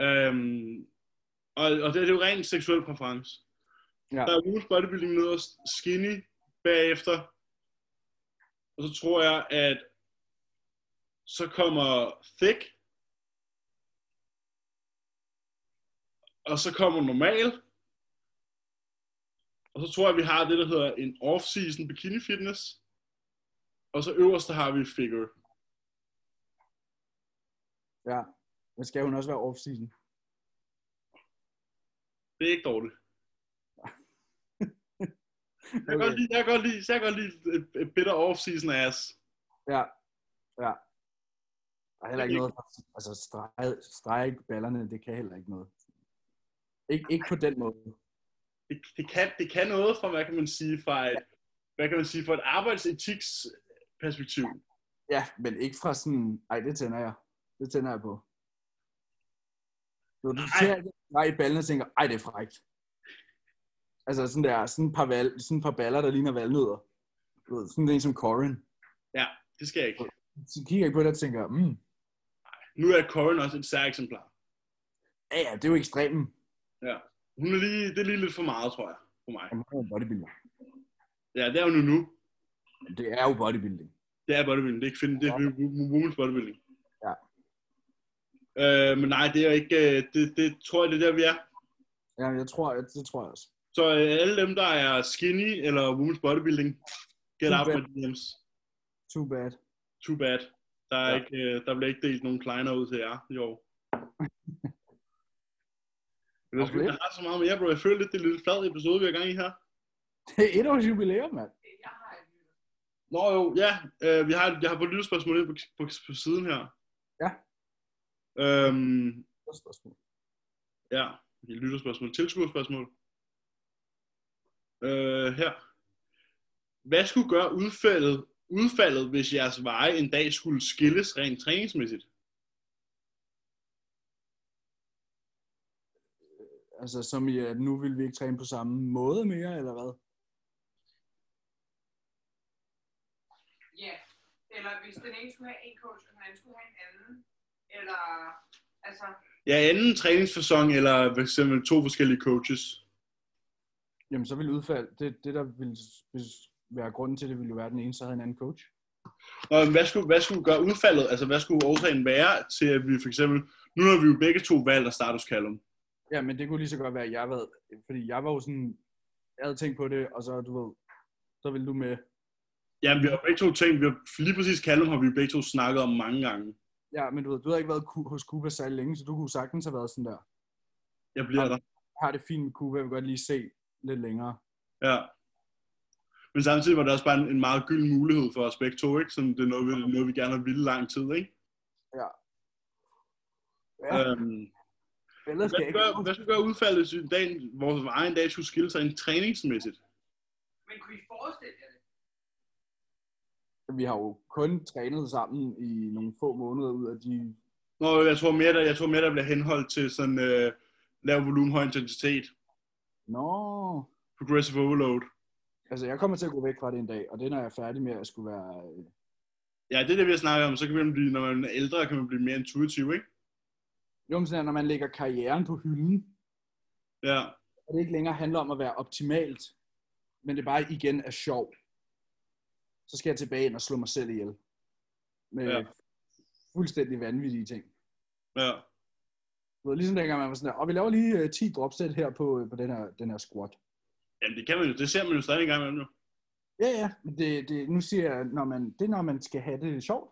[SPEAKER 2] Øhm, og, og det, det er jo rent seksuel præference.
[SPEAKER 1] Ja.
[SPEAKER 2] Der er Women's Bodybuilding nederst, Skinny bagefter. Og så tror jeg, at så kommer Thick. Og så kommer Normal. Og så tror jeg, at vi har det, der hedder en off-season bikini fitness. Og så øverst, der har vi Figure.
[SPEAKER 1] Ja. Men skal hun også være off-season?
[SPEAKER 2] Det er ikke dårligt. Jeg kan godt lide, jeg kan godt lide, jeg kan godt lide et- et bitter off-season ass.
[SPEAKER 1] Ja, ja. Der er heller ikke noget, altså streg, streg ballerne, det kan heller ikke noget. Ik, ikke på den måde.
[SPEAKER 2] Det, det, kan, det kan noget fra, hvad kan man sige, fra et, hvad kan man sige, fra et arbejdsetiks perspektiv.
[SPEAKER 1] Ja, men ikke fra sådan, ej, det tænder jeg. Det tænder jeg på. Du, du
[SPEAKER 2] Nej.
[SPEAKER 1] ser ikke nej i ballen og tænker, ej, det er frækt. Altså sådan der, sådan et par, val, sådan et par baller, der ligner valnødder. Du ved, sådan en som Corin.
[SPEAKER 2] Ja, det skal jeg ikke.
[SPEAKER 1] Så kigger jeg på det og tænker, mm,
[SPEAKER 2] Nu er Corin også et særeksemplar.
[SPEAKER 1] ja, ja, det er jo ekstremen.
[SPEAKER 2] Hun er lige, det er lige lidt for meget, tror jeg, for mig.
[SPEAKER 1] Han er jo en bodybuilder.
[SPEAKER 2] Ja, det er hun jo nu.
[SPEAKER 1] Men Det er jo bodybuilding.
[SPEAKER 2] Det er bodybuilding. Det er ikke finde, det er wo- women's bodybuilding.
[SPEAKER 1] Ja.
[SPEAKER 2] Øh, men nej, det er ikke, øh, det, det tror jeg, det er der, vi er.
[SPEAKER 1] Ja, jeg tror, jeg, det tror jeg også.
[SPEAKER 2] Så øh, alle dem, der er skinny eller women's bodybuilding, get
[SPEAKER 1] Too
[SPEAKER 2] out
[SPEAKER 1] bad.
[SPEAKER 2] med DM's.
[SPEAKER 1] Too bad.
[SPEAKER 2] Too bad. Der, er
[SPEAKER 1] Ja.
[SPEAKER 2] ja. ikke, øh, der bliver ikke delt nogen kleiner ud til jer i år. Men Jeg,
[SPEAKER 1] Hvorfor
[SPEAKER 2] skulle, jeg har så meget mere, bro. Jeg føler lidt, det er lidt flad episode, vi har gang i her.
[SPEAKER 1] Det er et års jubilæum, mand.
[SPEAKER 3] Jeg har et nyt.
[SPEAKER 2] Nå jo, ja. Øh, vi har, jeg har fået et lille spørgsmål ind på, på, på siden her.
[SPEAKER 1] Ja.
[SPEAKER 2] Øhm,
[SPEAKER 1] Godt spørgsmål.
[SPEAKER 2] Ja, et lytterspørgsmål. Tilskuerspørgsmål. Øh, her. Hvad skulle gøre udfaldet, udfaldet, hvis jeres veje en dag skulle skilles rent træningsmæssigt?
[SPEAKER 1] Altså, som i, at nu vil vi ikke træne på samme måde mere, eller hvad?
[SPEAKER 3] Ja. Eller hvis den ene skulle have en coach, og den anden skulle have en anden. Eller, altså,
[SPEAKER 2] Ja, anden træningsfasong eller for eksempel to forskellige coaches.
[SPEAKER 1] Jamen, så vil udfald, det, det der ville s- være grunden til det, ville jo være, at den ene så havde en anden coach.
[SPEAKER 2] Nå, men hvad skulle, hvad skulle gøre udfaldet? Altså, hvad skulle årsagen være til, at vi for eksempel... Nu har vi jo begge to valgt at status Callum.
[SPEAKER 1] Ja, men det kunne lige så godt være, at jeg var, fordi jeg var jo sådan, jeg havde tænkt på det, og så, du ved, så ville du med.
[SPEAKER 2] Ja, vi har begge to tænkt... Vi har, lige præcis Callum har vi jo begge to snakket om mange gange.
[SPEAKER 1] Ja, men du ved, du havde ikke været ku- hos Kuba særlig længe, så du kunne sagtens have været sådan der.
[SPEAKER 2] Jeg bliver der.
[SPEAKER 1] Jeg har det fint med Kuba, jeg vil godt lige se lidt længere.
[SPEAKER 2] Ja. Men samtidig var det også bare en, en meget gylden mulighed for os begge to, ikke? Som det er noget, vi, noget, vi gerne har ville lang tid, ikke?
[SPEAKER 1] Ja,
[SPEAKER 2] Øhm,
[SPEAKER 1] ellers skal jeg
[SPEAKER 2] hvad, skulle gøre,
[SPEAKER 1] ikke...
[SPEAKER 2] hvad skulle gøre udfaldet, hvis en dag, vores egen dag skulle skille sig en træningsmæssigt?
[SPEAKER 3] men kunne I forestille jer det?
[SPEAKER 1] Vi har jo kun trænet sammen i nogle få måneder ud af de...
[SPEAKER 2] Nå, jeg tror mere, der, jeg tror mere, der bliver henholdt til sådan øh, lav volumen, høj intensitet,
[SPEAKER 1] Nå,
[SPEAKER 2] progressive overload.
[SPEAKER 1] altså jeg kommer til at gå væk fra det en dag, og det er, når jeg er færdig med at skulle være... øh,
[SPEAKER 2] Ja, det er det, vi har snakket om. Så kan man blive, når man er ældre, kan man blive mere intuitiv, ikke?
[SPEAKER 1] Jo, men sådan, er, når man lægger karrieren på hylden,
[SPEAKER 2] Ja,
[SPEAKER 1] at det ikke længere handler om at være optimalt, men det bare igen er sjov, så skal jeg tilbage ind og slå mig selv ihjel. Med ja.
[SPEAKER 2] Ja.
[SPEAKER 1] fuldstændig vanvittige ting.
[SPEAKER 2] ja.
[SPEAKER 1] Du ved, ligesom dengang man var sådan der, og vi laver lige øh, 10 dropsæt her på, øh, på den, her, den her squat.
[SPEAKER 2] Jamen, det kan man jo. Det ser man jo stadig en gang imellem, jo.
[SPEAKER 1] Ja, ja, men det, det, nu siger jeg, når man, det er når man skal have det sjovt,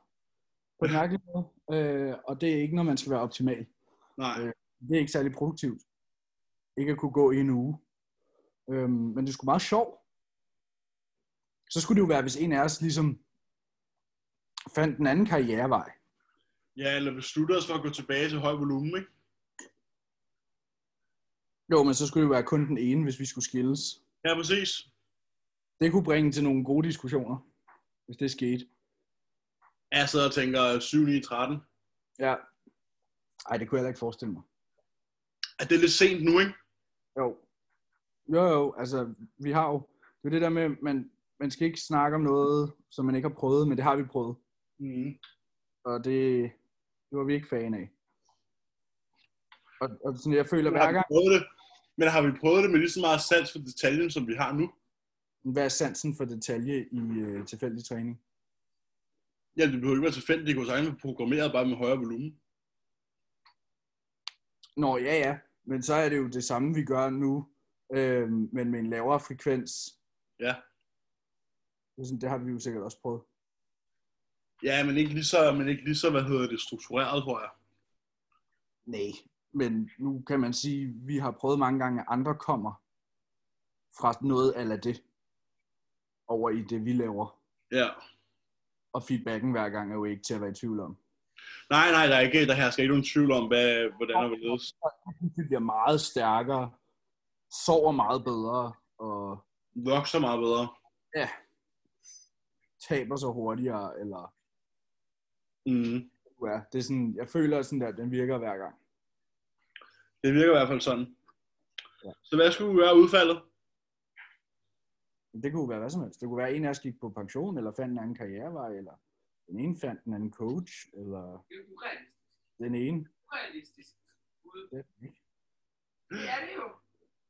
[SPEAKER 1] på en mærkelig måde, øh, og det er ikke når man skal være optimal.
[SPEAKER 2] Nej.
[SPEAKER 1] Øh. Det er ikke særlig produktivt. Ikke at kunne gå i en uge. Øhm, men det skulle meget sjovt. Så skulle det jo være, hvis en af os ligesom fandt en anden karrierevej.
[SPEAKER 2] Ja, eller beslutter os for at gå tilbage til høj volumen, ikke?
[SPEAKER 1] Jo, men så skulle det jo være kun den ene, hvis vi skulle skilles.
[SPEAKER 2] Ja, præcis.
[SPEAKER 1] Det kunne bringe til nogle gode diskussioner, hvis det skete.
[SPEAKER 2] Ja, jeg sidder og tænker øh, 7, 9, 13.
[SPEAKER 1] Ja. Ej, det kunne jeg heller ikke forestille mig.
[SPEAKER 2] Er det lidt sent nu, ikke?
[SPEAKER 1] Jo. Jo, jo, altså, vi har jo... Det er det der med, man, man skal ikke snakke om noget, som man ikke har prøvet, men det har vi prøvet.
[SPEAKER 2] Mm.
[SPEAKER 1] og det, det var vi ikke fan af. Og, og sådan, jeg føler
[SPEAKER 2] Men,
[SPEAKER 1] hver
[SPEAKER 2] har vi
[SPEAKER 1] gang,
[SPEAKER 2] prøvet det? Men har vi prøvet det med lige så meget sans for detaljen, som vi har nu?
[SPEAKER 1] hvad er sansen for detalje i øh, tilfældig træning?
[SPEAKER 2] Ja, det behøver ikke være tilfældigt. Det kunne sagtens være programmeret bare med højere volumen.
[SPEAKER 1] Nå, ja, ja, men så er det jo det samme, vi gør nu, øh, men med en lavere frekvens.
[SPEAKER 2] Ja.
[SPEAKER 1] Det, er sådan, det har vi jo sikkert også prøvet.
[SPEAKER 2] Ja, men ikke lige så, men ikke lige så hvad hedder det, struktureret, tror jeg.
[SPEAKER 1] Nej, men nu kan man sige, at vi har prøvet mange gange, at andre kommer fra noget af det over i det, vi laver.
[SPEAKER 2] Ja.
[SPEAKER 1] Og feedbacken hver gang er jo ikke til at være i tvivl om.
[SPEAKER 2] Nej, nej, der er ikke, der hersker ikke nogen tvivl om, hvad, hvordan og hvorledes.
[SPEAKER 1] Vi bliver meget stærkere, sover meget bedre og
[SPEAKER 2] Nok så meget bedre.
[SPEAKER 1] taber sig hurtigere. Eller,
[SPEAKER 2] Mm.
[SPEAKER 1] ja, det er sådan, jeg føler, sådan der, at den virker hver gang.
[SPEAKER 2] Det virker i hvert fald sådan.
[SPEAKER 1] Ja.
[SPEAKER 2] Så hvad skulle være udfaldet?
[SPEAKER 1] Men Det kunne være hvad som helst. Det kunne være, at en af os gik på pension, eller fandt en anden karrierevej, eller den ene fandt en anden coach, eller
[SPEAKER 3] Det er jo urealistisk.
[SPEAKER 1] den ene.
[SPEAKER 3] urealistisk. Ude.
[SPEAKER 1] Det er den ikke.
[SPEAKER 3] Det er det jo.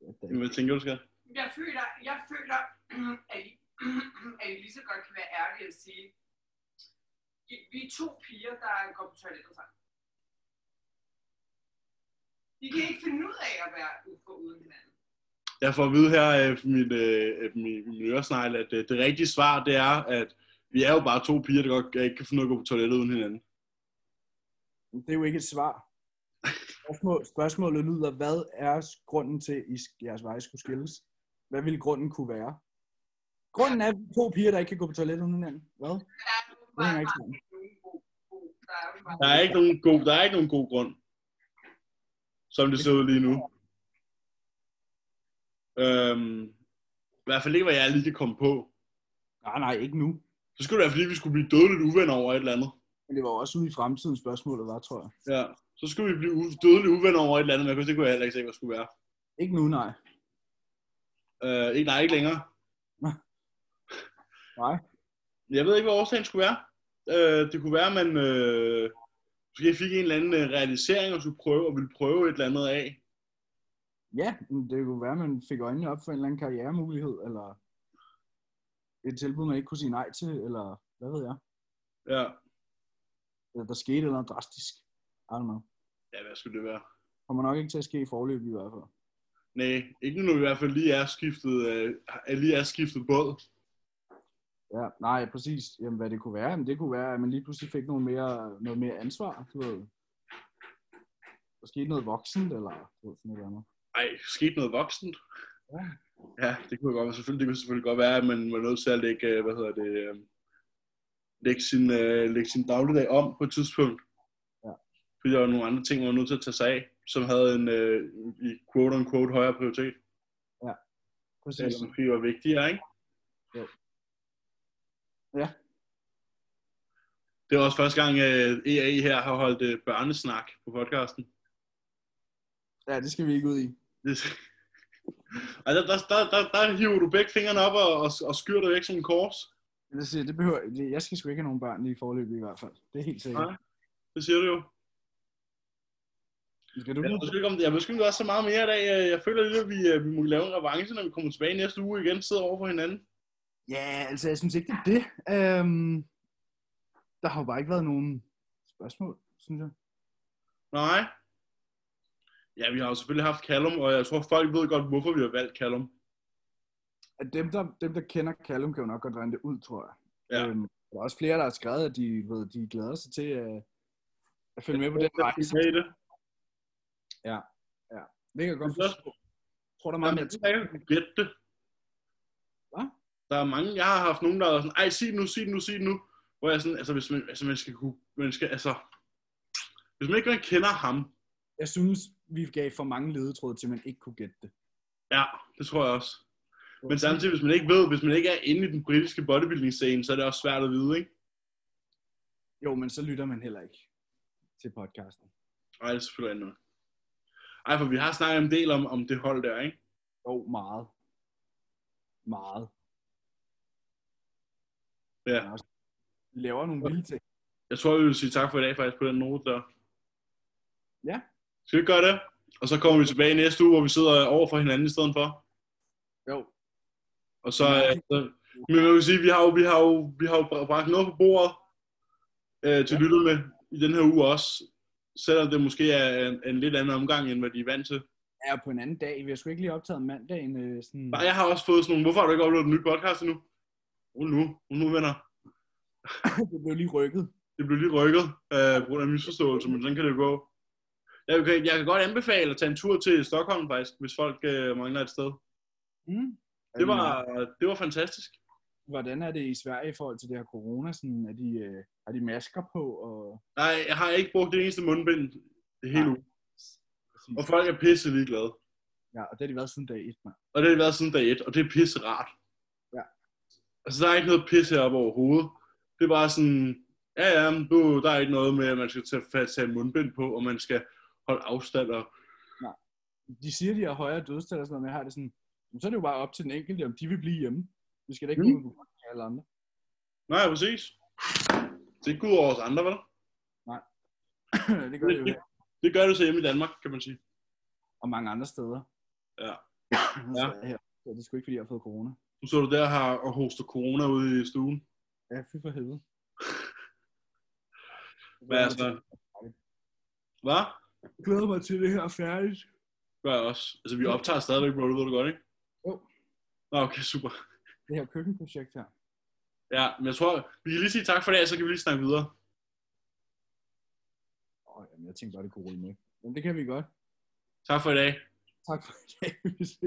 [SPEAKER 1] Det er den ikke.
[SPEAKER 2] Hvad tænker du, skal?
[SPEAKER 3] Jeg føler, jeg føler at, I, at I lige så godt kan være ærlige og sige, "I- vi er to piger, der går på toilettet sammen. De kan ikke finde ud af at være for uden hinanden.
[SPEAKER 2] Jeg får at vide her af min, øh, af min, min øresnegl, at øh, det rigtige svar, det er, at vi er jo bare to piger, der godt, ikke kan finde ud af at gå på toilettet uden hinanden.
[SPEAKER 1] Det er jo ikke et svar. Spørgsmål, spørgsmålet lyder, hvad er grunden til, at I sk- jeres veje skulle skilles? Hvad ville grunden kunne være? Grunden er at vi er to piger, der ikke kan gå på toilettet uden hinanden. Hvad?
[SPEAKER 3] Der er jo
[SPEAKER 1] Det hænger
[SPEAKER 3] bare
[SPEAKER 1] ikke sammen.
[SPEAKER 3] nogen god, god. Der er jo bare
[SPEAKER 2] Der er ikke nogen god, der er ikke nogen god grund, som det ser ud lige nu. Øhm, I hvert fald ikke, hvad jeg lige kan komme på.
[SPEAKER 1] Nej, nej, ikke nu.
[SPEAKER 2] Så skulle det være, fordi vi skulle blive dødeligt uvenner over et eller andet.
[SPEAKER 1] Men det var også ude i fremtiden, spørgsmålet var, tror jeg.
[SPEAKER 2] Ja. Så skulle vi blive u- dødeligt uvenner over et eller andet, men jeg kunne- det kunne jeg heller ikke se, hvad det skulle være.
[SPEAKER 1] Ikke nu, nej.
[SPEAKER 2] Øh, ikke, nej, ikke længere.
[SPEAKER 1] Nej.
[SPEAKER 2] Jeg ved ikke, hvad årsagen skulle være. Øh, det kunne være, at man øh, måske fik en eller anden øh, realisering og skulle prøve og ville prøve et eller andet af.
[SPEAKER 1] Ja, men det kunne være, at man fik øjnene op for en eller anden karrieremulighed, eller et tilbud, man ikke kunne sige nej til, eller hvad ved jeg.
[SPEAKER 2] Ja.
[SPEAKER 1] Eller der skete et eller andet drastisk. I don't know.
[SPEAKER 2] ja, hvad skulle det være?
[SPEAKER 1] Kommer nok ikke til at ske i forløb i hvert fald.
[SPEAKER 2] Nej, ikke nu, når vi i hvert fald lige er skiftet, øh, er- lige er skiftet båd.
[SPEAKER 1] Ja, nej, præcis. Jamen, hvad det kunne være, Jamen, det kunne være, at man lige pludselig fik noget mere, noget mere ansvar. Du ved. Der skete noget voksent, eller du ved, sådan et eller andet.
[SPEAKER 2] Ej, skete noget voksent.
[SPEAKER 1] Ja.
[SPEAKER 2] Ja, det kunne, godt, være. selvfølgelig, det kunne selvfølgelig godt være, at man var nødt til at lægge, øh, hvad hedder det, øh, lægge, sin, øh, lægge sin dagligdag om på et tidspunkt.
[SPEAKER 1] Ja.
[SPEAKER 2] Fordi der var nogle andre ting, man var nødt til at tage sig af, som havde en, øh, i quote-unquote, højere prioritet.
[SPEAKER 1] Præcis.
[SPEAKER 2] eller måske var vigtigere, ikke?
[SPEAKER 1] Jo. Ja.
[SPEAKER 2] Det er også første gang, øh, EA her har holdt øh, børnesnak på podcasten.
[SPEAKER 1] Ja, det skal vi ikke ud i.
[SPEAKER 2] Det, og der, der, der, der, der hiver du begge fingrene op og, og, og skyr dig væk som en kors.
[SPEAKER 1] Det vil sige, det behøver, det- jeg skal sgu ikke have nogen børn lige i forløb i hvert fald. Det er helt sikkert.
[SPEAKER 2] Nej. Det siger du jo.
[SPEAKER 1] Skal du
[SPEAKER 2] Jeg
[SPEAKER 1] ja,
[SPEAKER 2] ved sgu ikke, om, jeg ved sgu ikke, om der er så meget mere i dag. Øh, Jeg føler lidt, at vi, øh, vi må lave en revanche, når vi kommer tilbage næste uge igen, sidder over for hinanden.
[SPEAKER 1] ja, altså, jeg synes ikke, det er det. Øhm, der har jo bare ikke været nogen spørgsmål, synes jeg.
[SPEAKER 2] Nej. Ja, vi har jo selvfølgelig haft Callum, og jeg tror, folk ved godt, hvorfor vi har valgt Callum.
[SPEAKER 1] At dem, der, dem, der kender Callum, kan jo nok godt regne det ud, tror jeg.
[SPEAKER 2] Ja.
[SPEAKER 1] Øhm, der er også flere, der har skrevet, at de, ved, de glæder sig til at, at følge med på den
[SPEAKER 2] Jeg
[SPEAKER 1] rejse.
[SPEAKER 2] er i det.
[SPEAKER 1] Det kan jeg godt
[SPEAKER 2] Det er
[SPEAKER 1] forstå. Jeg tror, der er
[SPEAKER 2] Jamen,
[SPEAKER 1] meget
[SPEAKER 2] jeg
[SPEAKER 1] mere
[SPEAKER 2] tror, jeg kan gætte det.
[SPEAKER 1] Hvad?
[SPEAKER 2] Der er mange, jeg har haft nogen, der er sådan, ej, sig det nu, sig det nu, sig det nu. Hvor jeg sådan, altså, hvis man, altså, man skal kunne, man skal, altså, hvis man ikke man kender ham,
[SPEAKER 1] Jeg synes, vi gav for mange ledetråde til, at man ikke kunne gætte det.
[SPEAKER 2] ja, det tror jeg også. Men samtidig, hvis man ikke ved, hvis man ikke er inde i den britiske bodybuilding-scene, så er det også svært at vide, ikke?
[SPEAKER 1] Jo, men så lytter man heller ikke til podcasten.
[SPEAKER 2] Nej, det er selvfølgelig ikke noget. Ej, for vi har snakket en del om, om det hold der, ikke?
[SPEAKER 1] Jo, meget. Meget.
[SPEAKER 2] Ja.
[SPEAKER 1] Vi laver nogle vilde ting.
[SPEAKER 2] Jeg tror, vi vil sige tak for i dag, faktisk, på den note der.
[SPEAKER 1] Ja.
[SPEAKER 2] Skal vi ikke gøre det? Og så kommer vi tilbage næste uge, hvor vi sidder over for hinanden i stedet for.
[SPEAKER 1] Jo.
[SPEAKER 2] Og så,
[SPEAKER 1] Ja.
[SPEAKER 2] øh, så men jeg vil sige, vi har jo, vi har jo, vi har jo br- bragt noget på bordet øh, til ja. lytterne i den her uge også. Selvom det måske er en, en lidt anden omgang, end hvad de er vant til.
[SPEAKER 1] Jeg er på en anden dag. Vi har sgu ikke lige optaget mandagen. Øh, sådan...
[SPEAKER 2] Bare, jeg har også fået sådan nogle, hvorfor har du ikke uploadet en ny podcast endnu? Rul nu, rul nu venner.
[SPEAKER 1] det blev lige rykket.
[SPEAKER 2] Det blev lige rykket øh, på grund af misforståelse, men sådan kan det jo gå. Jeg kan, jeg kan godt anbefale at tage en tur til Stockholm faktisk, hvis folk øh, mangler et sted.
[SPEAKER 1] Mm.
[SPEAKER 2] Det var, det var fantastisk.
[SPEAKER 1] Hvordan er det i Sverige i forhold til det her corona? Sådan, er, de, øh, har de masker på? Og...
[SPEAKER 2] Nej, jeg har ikke brugt det eneste mundbind det hele
[SPEAKER 1] Nej.
[SPEAKER 2] ugen. Og folk er pisse ligeglade.
[SPEAKER 1] Ja, og det har de været siden dag 1, mand.
[SPEAKER 2] Og det har det været siden dag et, og det er pisse rart.
[SPEAKER 1] Ja.
[SPEAKER 2] Altså, der er ikke noget pisse op overhovedet. Det er bare sådan, ja ja, men du, der er ikke noget med, at man skal tage, tage mundbind på, og man skal holde afstand. Og,
[SPEAKER 1] De siger, de har højere dødstal og sådan noget, men jeg har det sådan, "Jamen, så er det jo bare op til den enkelte, om de vil blive hjemme. Vi skal da ikke
[SPEAKER 2] Mm.
[SPEAKER 1] mm. ud af alle andre.
[SPEAKER 2] nej, præcis. Det er ikke ud over os andre, vel?
[SPEAKER 1] det gør det jo
[SPEAKER 2] Mm.
[SPEAKER 1] her,
[SPEAKER 2] Det gør det så hjemme i Danmark, kan man sige.
[SPEAKER 1] og mange andre steder.
[SPEAKER 2] Ja.
[SPEAKER 1] ja. Her. Så det er sgu ikke, fordi jeg har fået corona.
[SPEAKER 2] Nu står du der her og hoster corona ude i stuen.
[SPEAKER 1] Ja, fy for helvede.
[SPEAKER 2] Hvad altså? Hvad?
[SPEAKER 1] Jeg glæder mig til det her er færdigt.
[SPEAKER 2] Gør jeg også. Altså, vi optager stadigvæk, bro. Det ved du godt, ikke?
[SPEAKER 1] Jo.
[SPEAKER 2] Nå, okay, super.
[SPEAKER 1] Det her køkkenprojekt her.
[SPEAKER 2] Ja, men jeg tror, vi kan lige sige tak for det, og så kan vi lige snakke videre.
[SPEAKER 1] Åh, jamen, jeg tænkte bare, det kunne rulle med. Men det kan vi godt.
[SPEAKER 2] Tak for i dag.
[SPEAKER 1] Tak for det. Vi ses.